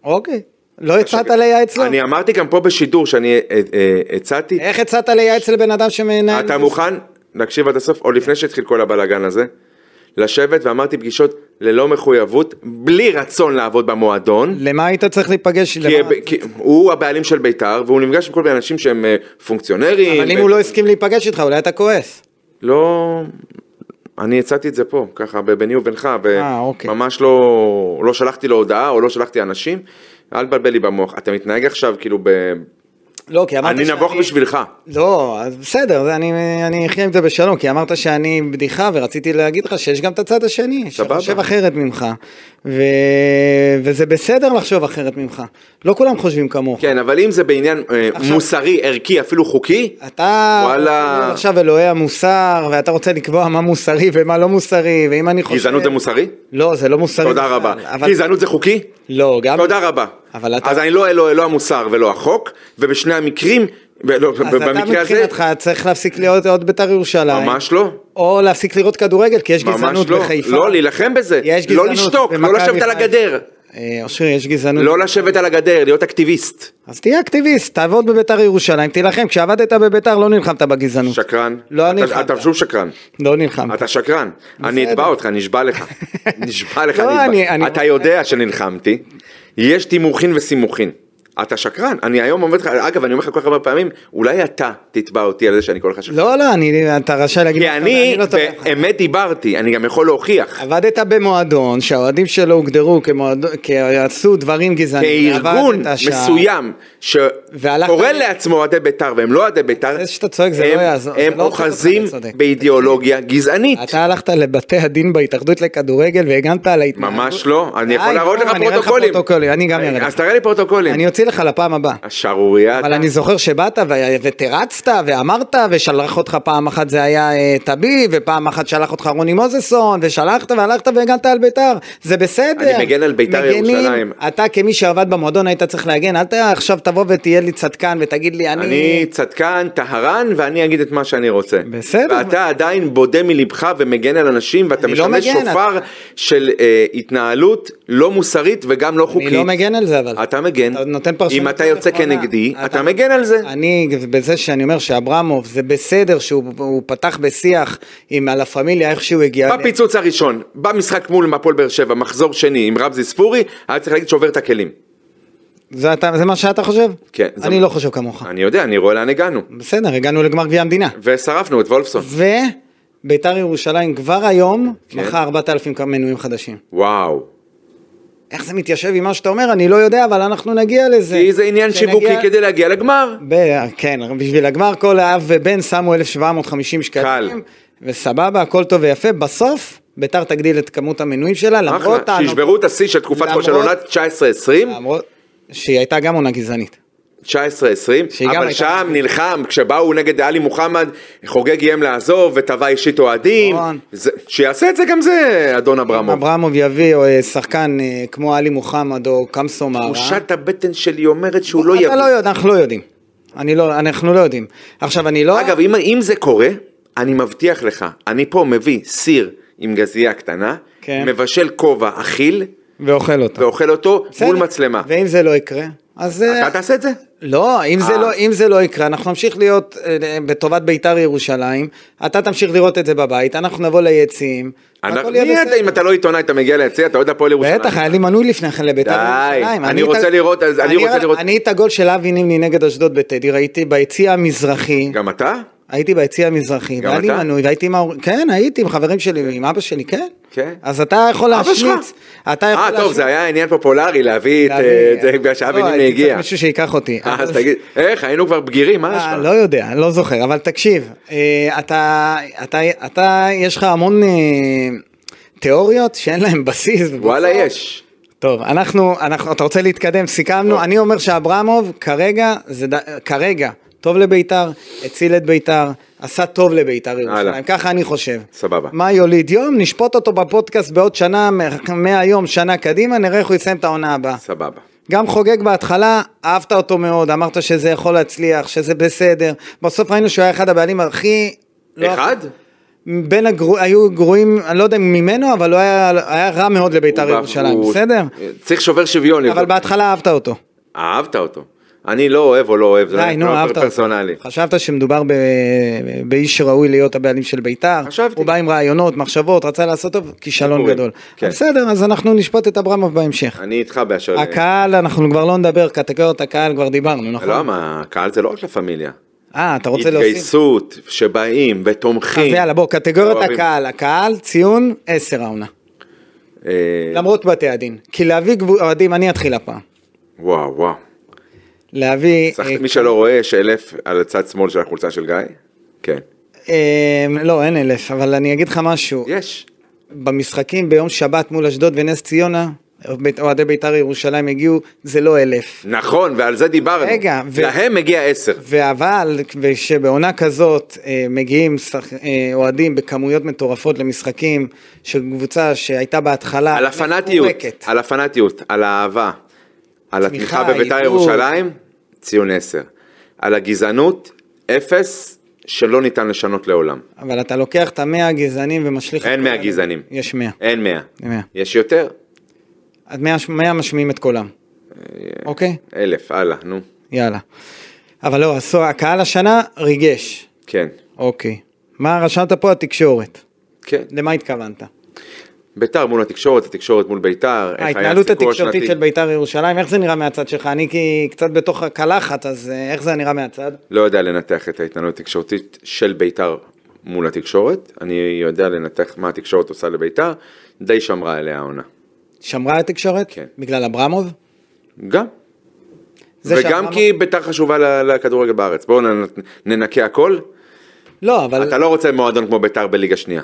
Speaker 2: אוקיי. לא הצעת לייעץ לו?
Speaker 3: אני אמ- אמרתי גם פה בשידור שאני אה, אה, הצעתי,
Speaker 2: איך הצעת לייעץ לבן אדם שמנהל...
Speaker 3: אתה מוכן, נקשיב עד הסוף, עוד
Speaker 2: כן.
Speaker 3: לפני שהתחיל כל הבלאגן הזה, לשבת ואמרתי פגישות ללא מחויבות, בלי רצון לעבוד במועדון.
Speaker 2: למה היית צריך להיפגש?
Speaker 3: כי,
Speaker 2: למה-
Speaker 3: כי הוא הבעלים של בית"ר, והוא נפגש עם כל מיני אנשים שהם אה, פונקציונרים.
Speaker 2: אבל אם
Speaker 3: ו-
Speaker 2: הוא לא הסכים להיפגש איתך, אולי אתה כועס.
Speaker 3: לא... אני הצעתי את זה פה, ככה ב- ביני ובינך,
Speaker 2: אה, אוקיי.
Speaker 3: וממש לא, לא שלחתי לו הודעה או לא שלחתי אנשים, אל תבלבל לי במוח. אתה מתנהג עכשיו כאילו ב...
Speaker 2: לא, כי אמרת
Speaker 3: אני
Speaker 2: שאני-
Speaker 3: נבוך בשבילך.
Speaker 2: לא, אז בסדר, זה- אני, אני אחיה עם זה בשלום, כי אמרת שאני בדיחה, ורציתי להגיד לך שיש גם את הצד השני,
Speaker 3: סבבה.
Speaker 2: שחושב אחרת ממך, ו... וזה בסדר לחשוב אחרת ממך. לא כולם חושבים כמוך.
Speaker 3: כן, אבל אם זה בעניין אה,
Speaker 2: עכשיו-
Speaker 3: מוסרי, ערכי, אפילו חוקי,
Speaker 2: אתה
Speaker 3: וואלה.
Speaker 2: רוצה להיות עכשיו אלוהי המוסר, ואתה רוצה לקבוע מה מוסרי ומה לא מוסרי, ואם אני חושב...
Speaker 3: גזענות זה מוסרי?
Speaker 2: לא, זה לא מוסרי.
Speaker 3: תודה
Speaker 2: בכלל,
Speaker 3: רבה.
Speaker 2: אבל...
Speaker 3: גזענות זה חוקי?
Speaker 2: לא, גם...
Speaker 3: תודה רבה.
Speaker 2: אבל אתה-
Speaker 3: אז אני לא אלוה, לא המוסר ולא החוק, ובשני המקרים, ולא,
Speaker 2: אז אתה
Speaker 3: במקרה הזה,
Speaker 2: מבחינתך צריך להפסיק להיות עוד בית"ר ירושלים.
Speaker 3: ממש לא.
Speaker 2: או להפסיק לראות כדורגל, כי יש
Speaker 3: ממש
Speaker 2: גזענות
Speaker 3: לא,
Speaker 2: בחיפה.
Speaker 3: לא, להילחם בזה,
Speaker 2: יש
Speaker 3: לא
Speaker 2: גזענות
Speaker 3: לשתוק, לא
Speaker 2: במכבי
Speaker 3: לשבת על
Speaker 2: חיפה.
Speaker 3: הגדר,
Speaker 2: אה, אושרי, יש גזענות.
Speaker 3: לא לשבת על הגדר, להיות אקטיביסט.
Speaker 2: אז תהיה אקטיביסט, תעבוד בבית"ר ירושלים, תילחם. כשעבדת בבית"ר לא נלחמת בגזענות.
Speaker 3: שקרן.
Speaker 2: לא
Speaker 3: אתה-
Speaker 2: נלחמת.
Speaker 3: אתה שוב שקרן.
Speaker 2: לא נלחמת.
Speaker 3: אתה שקרן. אני אתבע אותך, נשבע לך.
Speaker 2: [LAUGHS]
Speaker 3: נשבע לך,
Speaker 2: לא,
Speaker 3: אני
Speaker 2: אני-
Speaker 3: אתבע.
Speaker 2: אני-
Speaker 3: אתה יודע שנלחמתי. יש תימוכין וסימוכין. אתה שקרן, אני היום אומר לך, אגב, אני אומר לך כל כך הרבה פעמים, אולי אתה תתבע אותי על זה שאני קורא לך שקרן.
Speaker 2: לא, לא, אני, אתה רשאי להגיד,
Speaker 3: כי
Speaker 2: "אתה-
Speaker 3: אני
Speaker 2: לא תובע אותך".
Speaker 3: באמת דיברתי, אני גם יכול להוכיח.
Speaker 2: עבדת במועדון שהאוהדים שלו הוגדרו כמועדון, כעשו דברים גזעניים,
Speaker 3: כארגון
Speaker 2: עבדת שם.
Speaker 3: מסוים
Speaker 2: והלכת-
Speaker 3: שקורא לעצמו אוהדי בית"ר והם לא אוהדי בית"ר,
Speaker 2: זה שאתה צועק זה לא
Speaker 3: הם-
Speaker 2: יעזור, זה
Speaker 3: הם
Speaker 2: לא הופך אותך
Speaker 3: אוחזים
Speaker 2: לצודק.
Speaker 3: באידיאולוגיה גזענית.
Speaker 2: אתה הלכת לבתי הדין בהתאחדות לכדורגל והגנת על ההתנהגות?
Speaker 3: ממש לא, אני
Speaker 2: די,
Speaker 3: יכול להראות
Speaker 2: נו,
Speaker 3: לך
Speaker 2: אה, אני אראה לך
Speaker 3: פרוטוקולים. אה,
Speaker 2: פרוטוקולים, אני גם אראה לך.
Speaker 3: אז תראה לי פרוטוקולים.
Speaker 2: אני אוציא לך לפעם הבאה.
Speaker 3: השערורייה.
Speaker 2: אבל
Speaker 3: אתה-
Speaker 2: אני זוכר שבאת ו- ותרצת ואמרת ושלח אותך פעם אחת זה היה אה, טבי ופעם אחת שלח אותך רוני מוזסון ושלחת והלכת והגנת על ביתר זה בסדר.
Speaker 3: אני מגן על ביתר
Speaker 2: מגנים.
Speaker 3: ירושלים.
Speaker 2: אתה כמי שעבד במועדון היית צריך להגן אל ת- עכשיו תבוא ותהיה לי צדקן ותגיד לי אני. לא
Speaker 3: אני צדקן, טהרן, ואני אגיד את מה שאני רוצה.
Speaker 2: בסדר.
Speaker 3: ואתה עדיין בודה מלבך ומגן על אנשים, ואתה
Speaker 2: אני לא
Speaker 3: משמש
Speaker 2: מגן,
Speaker 3: שופר
Speaker 2: אתה-
Speaker 3: של אה, התנהלות לא מוסרית וגם לא חוקית.
Speaker 2: אני לא מגן על זה אבל.
Speaker 3: אתה מגן.
Speaker 2: אתה נותן פרשנות
Speaker 3: אם אתה
Speaker 2: לא
Speaker 3: יוצא
Speaker 2: נכונה.
Speaker 3: כנגדי, אתה מגן על זה.
Speaker 2: אני, בזה שאני אומר שאברמוב, זה בסדר שהוא הוא פתח בשיח עם הלה פמיליה, איך שהוא הגיע.
Speaker 3: בפיצוץ הראשון, במשחק מול הפועל באר שבע, מחזור שני עם רמזי ספורי, היה צריך להגיד שובר את הכלים.
Speaker 2: זה, אתה, זה מה שאתה חושב?
Speaker 3: כן, זה-
Speaker 2: אני לא חושב כמוך.
Speaker 3: אני יודע, אני רואה לאן הגענו.
Speaker 2: בסדר, הגענו לגמר גביע המדינה.
Speaker 3: ושרפנו את וולפסון.
Speaker 2: וביתר ירושלים כבר היום,
Speaker 3: כן.
Speaker 2: מכר 4,000 מנויים חדשים.
Speaker 3: וואו.
Speaker 2: איך זה מתיישב עם מה שאתה אומר? אני לא יודע, אבל אנחנו נגיע לזה.
Speaker 3: כי זה עניין
Speaker 2: כשנגיע-
Speaker 3: שיווקי כדי להגיע לגמר.
Speaker 2: ב- כן, בשביל הגמר כל האב ובן שמו 1,750 שקלים.
Speaker 3: קל.
Speaker 2: וסבבה, הכל טוב ויפה. בסוף, ביתר תגדיל את כמות המנויים שלה, למרות...
Speaker 3: אחלה, שישברו את השיא של תקופת
Speaker 2: למרות-
Speaker 3: כושר עונת 19-20.
Speaker 2: למרות שהיא הייתה גם עונה גזענית.
Speaker 3: 19-20,
Speaker 2: שהיא גם
Speaker 3: אבל
Speaker 2: הייתה-
Speaker 3: שם נלחם, כשבאו נגד עלי מוחמד, חוגג איים לעזוב וטבע אישית אוהדים,
Speaker 2: נכון.
Speaker 3: זה- שיעשה את זה גם זה, אדון אברמוב.
Speaker 2: אברמוב יביא אה, שחקן אה, כמו עלי מוחמד או קמסו מארה.
Speaker 3: תחושת הבטן שלי אומרת שהוא לא
Speaker 2: אה? אתה לא
Speaker 3: יביא.
Speaker 2: יודע, אנחנו לא יודעים. אני לא, אנחנו לא יודעים. עכשיו, אני לא...
Speaker 3: אגב, אם- אם זה קורה, אני מבטיח לך, אני פה מביא סיר עם גזייה קטנה,
Speaker 2: כן.
Speaker 3: מבשל כובע אכיל,
Speaker 2: ואוכל אותו.
Speaker 3: ואוכל אותו
Speaker 2: בסדר.
Speaker 3: מול מצלמה.
Speaker 2: ואם זה לא יקרה, אז... אה,
Speaker 3: אתה תעשה את זה?
Speaker 2: לא, אם זה
Speaker 3: אה.
Speaker 2: לא, אם זה לא יקרה, אנחנו נמשיך להיות אה, בטובת בית"ר ירושלים, אתה תמשיך לראות את זה בבית, אנחנו נבוא ליציעים,
Speaker 3: אנחנו-
Speaker 2: הכל
Speaker 3: מי
Speaker 2: יהיה
Speaker 3: אתה, אם
Speaker 2: בסדר.
Speaker 3: אתה לא עיתונאי, אתה מגיע ליציע, אתה אוהד הפועל ירושלים.
Speaker 2: בטח, היה לי מנוי לפני כן לבית"ר
Speaker 3: די,
Speaker 2: ירושלים.
Speaker 3: אני רוצה
Speaker 2: את-
Speaker 3: לראות, אז אני רוצה לראות-
Speaker 2: אני את הגול של אבי נימני נגד אשדוד בטדי, ראיתי ביציע המזרחי,
Speaker 3: גם אתה?
Speaker 2: הייתי ביציע המזרחי,
Speaker 3: גם
Speaker 2: והיה לי
Speaker 3: אתה?
Speaker 2: מנוי, והייתי עם ההורים, כן, הייתי עם חברים שלי, עם אבא שלי, כן.
Speaker 3: כן.
Speaker 2: אז אתה יכול
Speaker 3: אבא שלך?
Speaker 2: להשמיץ, אתה יכול
Speaker 3: אה, טוב,
Speaker 2: להשמיץ.
Speaker 3: זה היה עניין פופולרי להביא את אה,
Speaker 2: להביא-
Speaker 3: זה בגלל שאבי
Speaker 2: לא,
Speaker 3: נימני
Speaker 2: הייתי צריך
Speaker 3: הגיע.
Speaker 2: מישהו שייקח אותי.
Speaker 3: [LAUGHS] אה, אז
Speaker 2: אבל-
Speaker 3: תגיד, איך, היינו כבר בגירים, מה יש
Speaker 2: אה,
Speaker 3: לך?
Speaker 2: לא יודע, לא זוכר, אבל תקשיב, אה, אתה, אתה, אתה, יש לך המון אה, תיאוריות שאין להן בסיס.
Speaker 3: וואלה,
Speaker 2: בסוף-
Speaker 3: יש.
Speaker 2: טוב, אנחנו, אנחנו, אתה רוצה להתקדם, סיכמנו,
Speaker 3: טוב.
Speaker 2: אני אומר שאברמוב כרגע, זה ד- כרגע, טוב לביתר, הציל את ביתר, עשה טוב לביתר
Speaker 3: הלאה.
Speaker 2: ירושלים, ככה אני חושב.
Speaker 3: סבבה.
Speaker 2: מה יוליד יום, נשפוט אותו בפודקאסט בעוד שנה, מ- מהיום, שנה קדימה, נראה איך הוא יסיים את העונה הבאה.
Speaker 3: סבבה.
Speaker 2: גם חוגג בהתחלה, אהבת אותו מאוד, אמרת שזה יכול להצליח, שזה בסדר. בסוף ראינו שהוא היה אחד הבעלים הכי... לא-
Speaker 3: אחד?
Speaker 2: בין הגרו... היו גרועים, אני לא יודע אם ממנו, אבל הוא היה, היה רע מאוד לביתר
Speaker 3: הוא-
Speaker 2: ירושלים,
Speaker 3: הוא-
Speaker 2: בסדר?
Speaker 3: צריך שובר שוויון.
Speaker 2: אבל
Speaker 3: לבדוק.
Speaker 2: בהתחלה אהבת אותו.
Speaker 3: אהבת אותו. אני לא אוהב או לא אוהב, זה
Speaker 2: די, נו,
Speaker 3: מאוד
Speaker 2: אהבת אותו.
Speaker 3: פרסונלי.
Speaker 2: חשבת שמדובר ב... באיש שראוי להיות הבעלים של ביתר.
Speaker 3: חשבתי.
Speaker 2: הוא בא עם רעיונות, מחשבות, רצה לעשות טוב, כישלון
Speaker 3: סיפורים,
Speaker 2: גדול.
Speaker 3: כן.
Speaker 2: אבל בסדר, אז אנחנו נשפוט את אברמוב בהמשך.
Speaker 3: אני איתך באשר... ל-
Speaker 2: הקהל, אנחנו כבר לא נדבר, קטגוריות הקהל כבר דיברנו, נכון?
Speaker 3: לא, מה, הקהל זה לא רק לה פמיליה.
Speaker 2: אה, אתה רוצה להוסיף?
Speaker 3: התגייסות, שבאים
Speaker 2: אז
Speaker 3: ותומכים.
Speaker 2: יאללה, בוא, קטגוריית
Speaker 3: אוהבים.
Speaker 2: הקהל. הקהל, ציון, 10 העונה.
Speaker 3: כן. אה,
Speaker 2: למרות בתי הדין. כי להביא גבו- אוהדים, אני אתחיל הפעם.
Speaker 3: וואו, וואו.
Speaker 2: להביא...
Speaker 3: צריך-
Speaker 2: אה,
Speaker 3: מי שלא רואה, יש אלף על הצד שמאל של החולצה של גיא? כן.
Speaker 2: אה, לא, אין אלף, אבל אני אגיד לך משהו.
Speaker 3: יש.
Speaker 2: במשחקים ביום שבת מול אשדוד ונס ציונה, בית- אוהדי בית"ר ירושלים הגיעו, זה לא אלף.
Speaker 3: נכון, ועל זה דיברנו.
Speaker 2: רגע, ו-
Speaker 3: להם מגיע עשר.
Speaker 2: ואבל, כשבעונה כזאת אה, מגיעים שח- אה, אוהדים בכמויות מטורפות למשחקים של קבוצה שהייתה בהתחלה...
Speaker 3: על הפנאטיות,
Speaker 2: מפורקת.
Speaker 3: על הפנאטיות, על האהבה, על
Speaker 2: תמיכה,
Speaker 3: התמיכה בבית"ר
Speaker 2: עידוד.
Speaker 3: ירושלים, ציון 10. על הגזענות, אפס, שלא ניתן לשנות לעולם.
Speaker 2: אבל אתה לוקח את המאה הגזענים ומשליך...
Speaker 3: אין
Speaker 2: את
Speaker 3: מאה
Speaker 2: כולם.
Speaker 3: גזענים.
Speaker 2: יש מאה.
Speaker 3: אין מאה.
Speaker 2: מאה.
Speaker 3: יש יותר?
Speaker 2: עד מאה, מאה משמיעים את קולם. אוקיי?
Speaker 3: אלף, הלאה, נו.
Speaker 2: יאללה. אבל לא, עשו, הקהל השנה ריגש.
Speaker 3: כן,
Speaker 2: אוקיי. מה רשמת פה? התקשורת.
Speaker 3: כן.
Speaker 2: למה התכוונת?
Speaker 3: ביתר מול התקשורת, התקשורת מול ביתר, איך היה
Speaker 2: ההתנהלות
Speaker 3: הסיקור
Speaker 2: אה, התקשורתית
Speaker 3: השנתי.
Speaker 2: של בית"ר ירושלים, איך זה נראה מהצד שלך? אני כי קצת בתוך הקלחת, אז אה, איך זה נראה מהצד?
Speaker 3: לא יודע לנתח את ההתנהלות התקשורתית של ביתר מול התקשורת, אני יודע לנתח מה התקשורת עושה לביתר, די שמרה אליה העונה.
Speaker 2: שמרה התקשורת?
Speaker 3: כן.
Speaker 2: בגלל אברמוב?
Speaker 3: גם.
Speaker 2: זה
Speaker 3: וגם
Speaker 2: שאברמוב-
Speaker 3: כי ביתר חשובה ל- לכדורגל בארץ, בואו נ- ננקה הכל,
Speaker 2: לא, אבל...
Speaker 3: אתה לא רוצה מועדון כמו ביתר בליגה שנייה.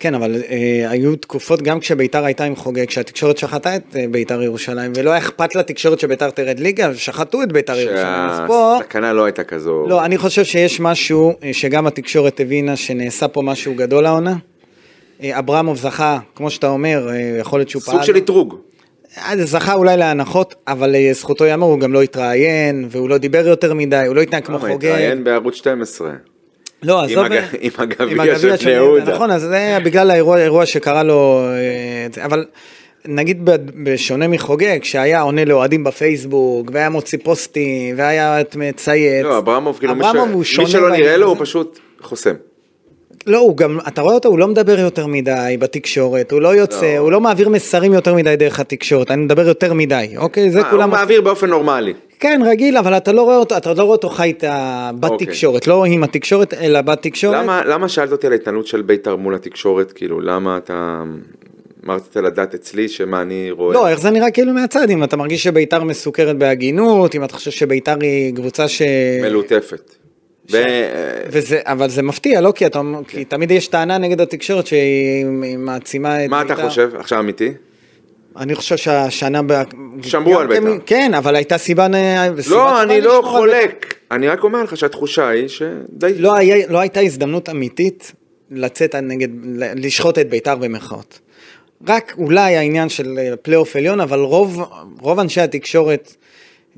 Speaker 2: כן, אבל אה, היו תקופות גם כשביתר הייתה עם חוגג, שהתקשורת שחטה את אה, ביתר ירושלים, ולא היה אכפת לתקשורת שביתר תרד ליגה, שחטו את ביתר ירושלים. אז פה...
Speaker 3: שהסכנה לא הייתה כזו.
Speaker 2: לא, אני חושב שיש משהו אה, שגם התקשורת הבינה שנעשה פה משהו גדול העונה. אה, אברמוב זכה, כמו שאתה אומר, אה, יכול להיות שהוא פעל...
Speaker 3: סוג של אתרוג.
Speaker 2: אה, זה זכה אולי להנחות, אבל אה, זכותו ייאמר, הוא גם לא התראיין, והוא לא דיבר יותר מדי, הוא לא התנהג כמו
Speaker 3: למה,
Speaker 2: חוגג.
Speaker 3: התראיין בערוץ 12.
Speaker 2: לא, עזוב...
Speaker 3: הג-
Speaker 2: אה,
Speaker 3: עם הגביע
Speaker 2: עם
Speaker 3: של בני יהודה.
Speaker 2: נכון, אז זה היה בגלל האירוע האירוע שקרה לו... אה, זה, אבל נגיד ב- בשונה מחוגג, שהיה עונה לאוהדים בפייסבוק, והיה מוציא פוסטים, והיה את מצייץ.
Speaker 3: לא, אברמוב, כאילו, מי ש-
Speaker 2: אברמוב הוא
Speaker 3: מי
Speaker 2: שונה
Speaker 3: שלא נראה
Speaker 2: בעניין
Speaker 3: לו הוא
Speaker 2: הזה.
Speaker 3: פשוט חוסם.
Speaker 2: לא, הוא גם, אתה רואה אותו, הוא לא מדבר יותר מדי בתקשורת, הוא לא יוצא,
Speaker 3: לא.
Speaker 2: הוא לא מעביר מסרים יותר מדי דרך התקשורת, אני מדבר יותר מדי, אוקיי? זה
Speaker 3: אה,
Speaker 2: כולם...
Speaker 3: הוא מעביר באופן נורמלי.
Speaker 2: כן, רגיל, אבל אתה לא רואה אותו, אתה לא רואה אותו חי את ה...
Speaker 3: אוקיי.
Speaker 2: בתקשורת, לא עם התקשורת, אלא בתקשורת.
Speaker 3: למה למה שאלת אותי על ההתנהלות של בית"ר מול התקשורת? כאילו, למה אתה... מה רצית לדעת אצלי, שמה אני רואה?
Speaker 2: לא, איך זה נראה כאילו מהצד, אם אתה מרגיש שביתר מסוכרת בהגינות, אם אתה חושב שביתר היא קבוצה ש...
Speaker 3: מלוטפת. ו-
Speaker 2: וזה, אבל זה מפתיע, לא? כי, אתה,
Speaker 3: כן.
Speaker 2: כי תמיד יש טענה נגד התקשורת שהיא היא מעצימה את
Speaker 3: מה
Speaker 2: ביתר.
Speaker 3: אתה חושב? עכשיו אמיתי?
Speaker 2: אני חושב שהשנה... ב...
Speaker 3: שמרו
Speaker 2: גם
Speaker 3: על
Speaker 2: כן-
Speaker 3: בית"ר.
Speaker 2: כן, אבל הייתה סיבה... נ- סיבה
Speaker 3: לא,
Speaker 2: טובה
Speaker 3: אני
Speaker 2: לשמור
Speaker 3: לא
Speaker 2: על בית"ר.
Speaker 3: חולק. אני רק אומר לך שהתחושה היא שדי...
Speaker 2: לא, היה, לא הייתה הזדמנות אמיתית לצאת נגד, לשחוט את ביתר במרכאות. רק אולי העניין של אה, פלייאוף עליון, אבל רוב, רוב אנשי התקשורת,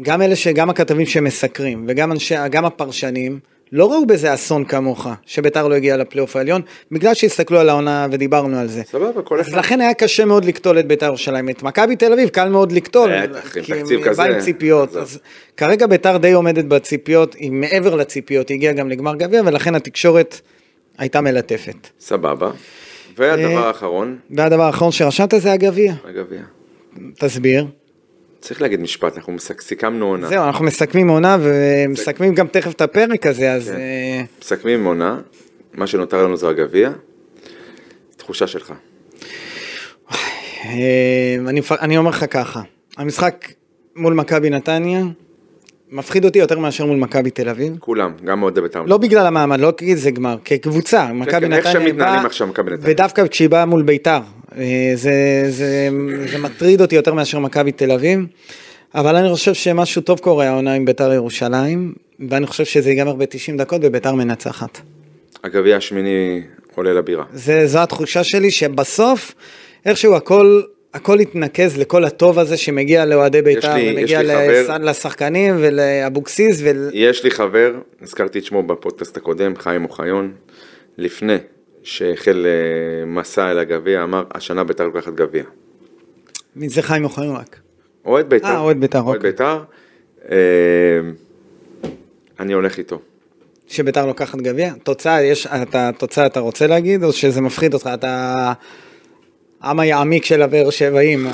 Speaker 2: גם אלה ש... גם הכתבים שמסקרים, וגם אנשי, גם הפרשנים, לא ראו בזה אסון כמוך, שביתר לא הגיעה לפלייאוף העליון, בגלל שהסתכלו על העונה ודיברנו על זה.
Speaker 3: סבבה, כל
Speaker 2: אז
Speaker 3: אחד.
Speaker 2: לכן היה קשה מאוד לקטול את ביתר ירושלים. את מכבי תל אביב קל מאוד לקטול.
Speaker 3: בטח, עם
Speaker 2: כי
Speaker 3: תקציב
Speaker 2: היא באה
Speaker 3: כזה.
Speaker 2: עם ציפיות.
Speaker 3: עזוב.
Speaker 2: אז כרגע ביתר די עומדת בציפיות, היא מעבר לציפיות, היא הגיעה גם לגמר גביע, ולכן התקשורת הייתה מלטפת.
Speaker 3: סבבה.
Speaker 2: אה,
Speaker 3: והדבר האחרון,
Speaker 2: והדבר האחרון שרשמת זה הגביע.
Speaker 3: הגביע.
Speaker 2: תסביר.
Speaker 3: צריך להגיד משפט, אנחנו מסק- סיכמנו עונה.
Speaker 2: זהו, אנחנו מסכמים עונה, ומסכמים גם תכף את הפרק הזה, אז... אה,
Speaker 3: כן. מסכמים עונה, מה שנותר לנו זה הגביע. תחושה שלך.
Speaker 2: אה, אני, מפ- אני אומר לך ככה, המשחק מול מכבי נתניה מפחיד אותי יותר מאשר מול מכבי תל אביב.
Speaker 3: כולם, גם אוהדי בית"ר.
Speaker 2: לא בגלל המעמד, לא כי זה גמר, כקבוצה, מכבי
Speaker 3: כן,
Speaker 2: נתניה,
Speaker 3: איך שהם
Speaker 2: באה-
Speaker 3: מתנהלים עכשיו, מכבי נתניה.
Speaker 2: ודווקא כשהיא באה מול ביתר, אה, זה, זה, זה מטריד אותי יותר מאשר מכבי תל אביב, אבל אני חושב שמשהו טוב קורה העונה עם ביתר ירושלים, ואני חושב שזה ייגמר ב-90 דקות וביתר מנצחת.
Speaker 3: הגביע השמיני עולה לבירה.
Speaker 2: זה, זו התחושה שלי שבסוף, איכשהו הכל... הכל התנקז לכל הטוב הזה שמגיע לאוהדי בית"ר,
Speaker 3: לי- יש
Speaker 2: ומגיע
Speaker 3: לי חבר-
Speaker 2: לס- לשחקנים ולאבוקסיס ול...
Speaker 3: יש לי חבר, הזכרתי את שמו בפודקאסט הקודם, חיים אוחיון, לפני שהחל אה, מסע אל הגביע, אמר, השנה בית"ר לוקחת גביע.
Speaker 2: זה חיים אוחיון רק.
Speaker 3: אוהד בית"ר.
Speaker 2: אה, אוהד בית"ר,
Speaker 3: אוהד
Speaker 2: אוקיי.
Speaker 3: בית"ר. אה, אני הולך איתו.
Speaker 2: שביתר לוקחת גביע? תוצאה, יש, אתה, תוצאה אתה רוצה להגיד, או שזה מפחיד אותך, אתה העם היעמיק של הבאר שבעים?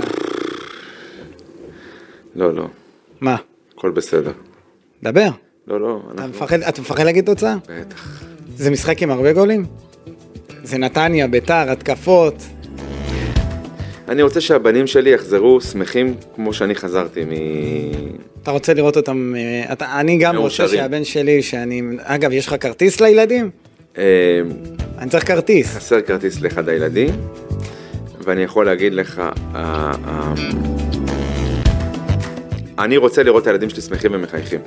Speaker 3: לא, לא,
Speaker 2: מה?
Speaker 3: הכל בסדר.
Speaker 2: דבר.
Speaker 3: לא, לא,
Speaker 2: אתה
Speaker 3: אנחנו...
Speaker 2: מפחד, אתה מפחד להגיד תוצאה?
Speaker 3: בטח.
Speaker 2: זה משחק עם הרבה גולים? זה נתניה, ביתר, התקפות.
Speaker 3: אני רוצה שהבנים שלי יחזרו שמחים כמו שאני חזרתי מ...
Speaker 2: אתה רוצה לראות אותם, אה, אתה, אני גם רוצה
Speaker 3: מאושרים.
Speaker 2: שהבן שלי, שאני, אגב, יש לך כרטיס לילדים?
Speaker 3: אה,
Speaker 2: אני צריך כרטיס.
Speaker 3: חסר כרטיס לאחד הילדים, ואני יכול להגיד לך, אה, אה, אני רוצה לראות את הילדים שלי שמחים ומחייכים.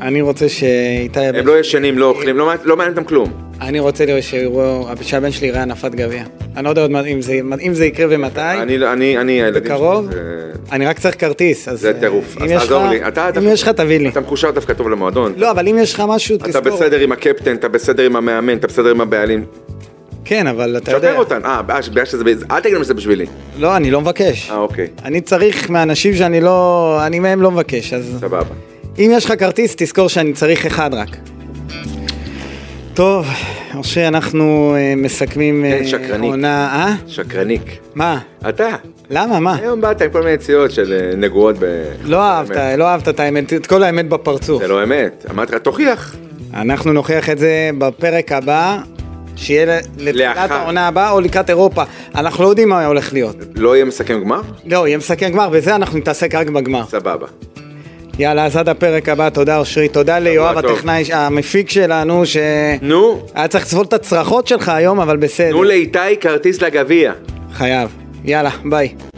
Speaker 2: אני רוצה שאיתי הבן
Speaker 3: הם לא ישנים, לא אוכלים, לא מעניין- לא מעניין אותם כלום.
Speaker 2: אני רוצה לראות שיראו- שהבן שלי יראה הנפת גביע. אני לא יודע עוד מה- אם זה- אם זה יקרה ומתי.
Speaker 3: אני, לא- אני, אני, הילדים שלי...
Speaker 2: בקרוב?
Speaker 3: זה-
Speaker 2: אני רק צריך כרטיס, אז...
Speaker 3: זה
Speaker 2: אה,
Speaker 3: טירוף,
Speaker 2: אם
Speaker 3: אז
Speaker 2: יש
Speaker 3: תעזור
Speaker 2: לך-
Speaker 3: לי. אתה-
Speaker 2: אם יש לך, תביא לי.
Speaker 3: אתה מקושר דווקא טוב למועדון.
Speaker 2: לא, אבל אם יש לך משהו, תזכור.
Speaker 3: אתה בסדר עם הקפטן, אתה בסדר עם המאמן, אתה בסדר עם הבעלים.
Speaker 2: כן, אבל אתה יודע.
Speaker 3: שפר אותן. אה, בגלל שזה... ב- אל תגיד לנו שזה בשבילי.
Speaker 2: לא, אני לא מבקש.
Speaker 3: אה, אוקיי.
Speaker 2: אני צריך מאנשים שאני לא... אני מהם לא מבקש, אז...
Speaker 3: סבבה.
Speaker 2: אם יש לך כרטיס, תזכור שאני צריך אחד רק. טוב, אושרי, אנחנו אה, מסכמים
Speaker 3: כן,
Speaker 2: אה,
Speaker 3: שקרנית.
Speaker 2: עונה... אה?
Speaker 3: שקרניק.
Speaker 2: מה?
Speaker 3: אתה.
Speaker 2: למה? מה?
Speaker 3: היום באת עם כל מיני ציוד של אה, נגועות ב...
Speaker 2: לא אהבת, לא אהבת את האמת, את כל האמת בפרצוף.
Speaker 3: זה לא אמת. אמרתי לך, תוכיח.
Speaker 2: אנחנו נוכיח את זה בפרק הבא, שיהיה ל- לתחילת
Speaker 3: לאחר.
Speaker 2: העונה הבאה או לקראת אירופה. אנחנו לא יודעים מה הולך להיות.
Speaker 3: לא יהיה מסכם גמר?
Speaker 2: לא, יהיה מסכם גמר, וזה אנחנו נתעסק רק בגמר.
Speaker 3: סבבה.
Speaker 2: יאללה, אז עד הפרק הבא, תודה אושרי, תודה ליואב
Speaker 3: טוב.
Speaker 2: הטכנאי, המפיק שלנו, שהיה
Speaker 3: נו,
Speaker 2: צריך לסבול את הצרחות שלך היום, אבל בסדר.
Speaker 3: תנו לאיתי כרטיס לגביע.
Speaker 2: חייב. יאללה, ביי.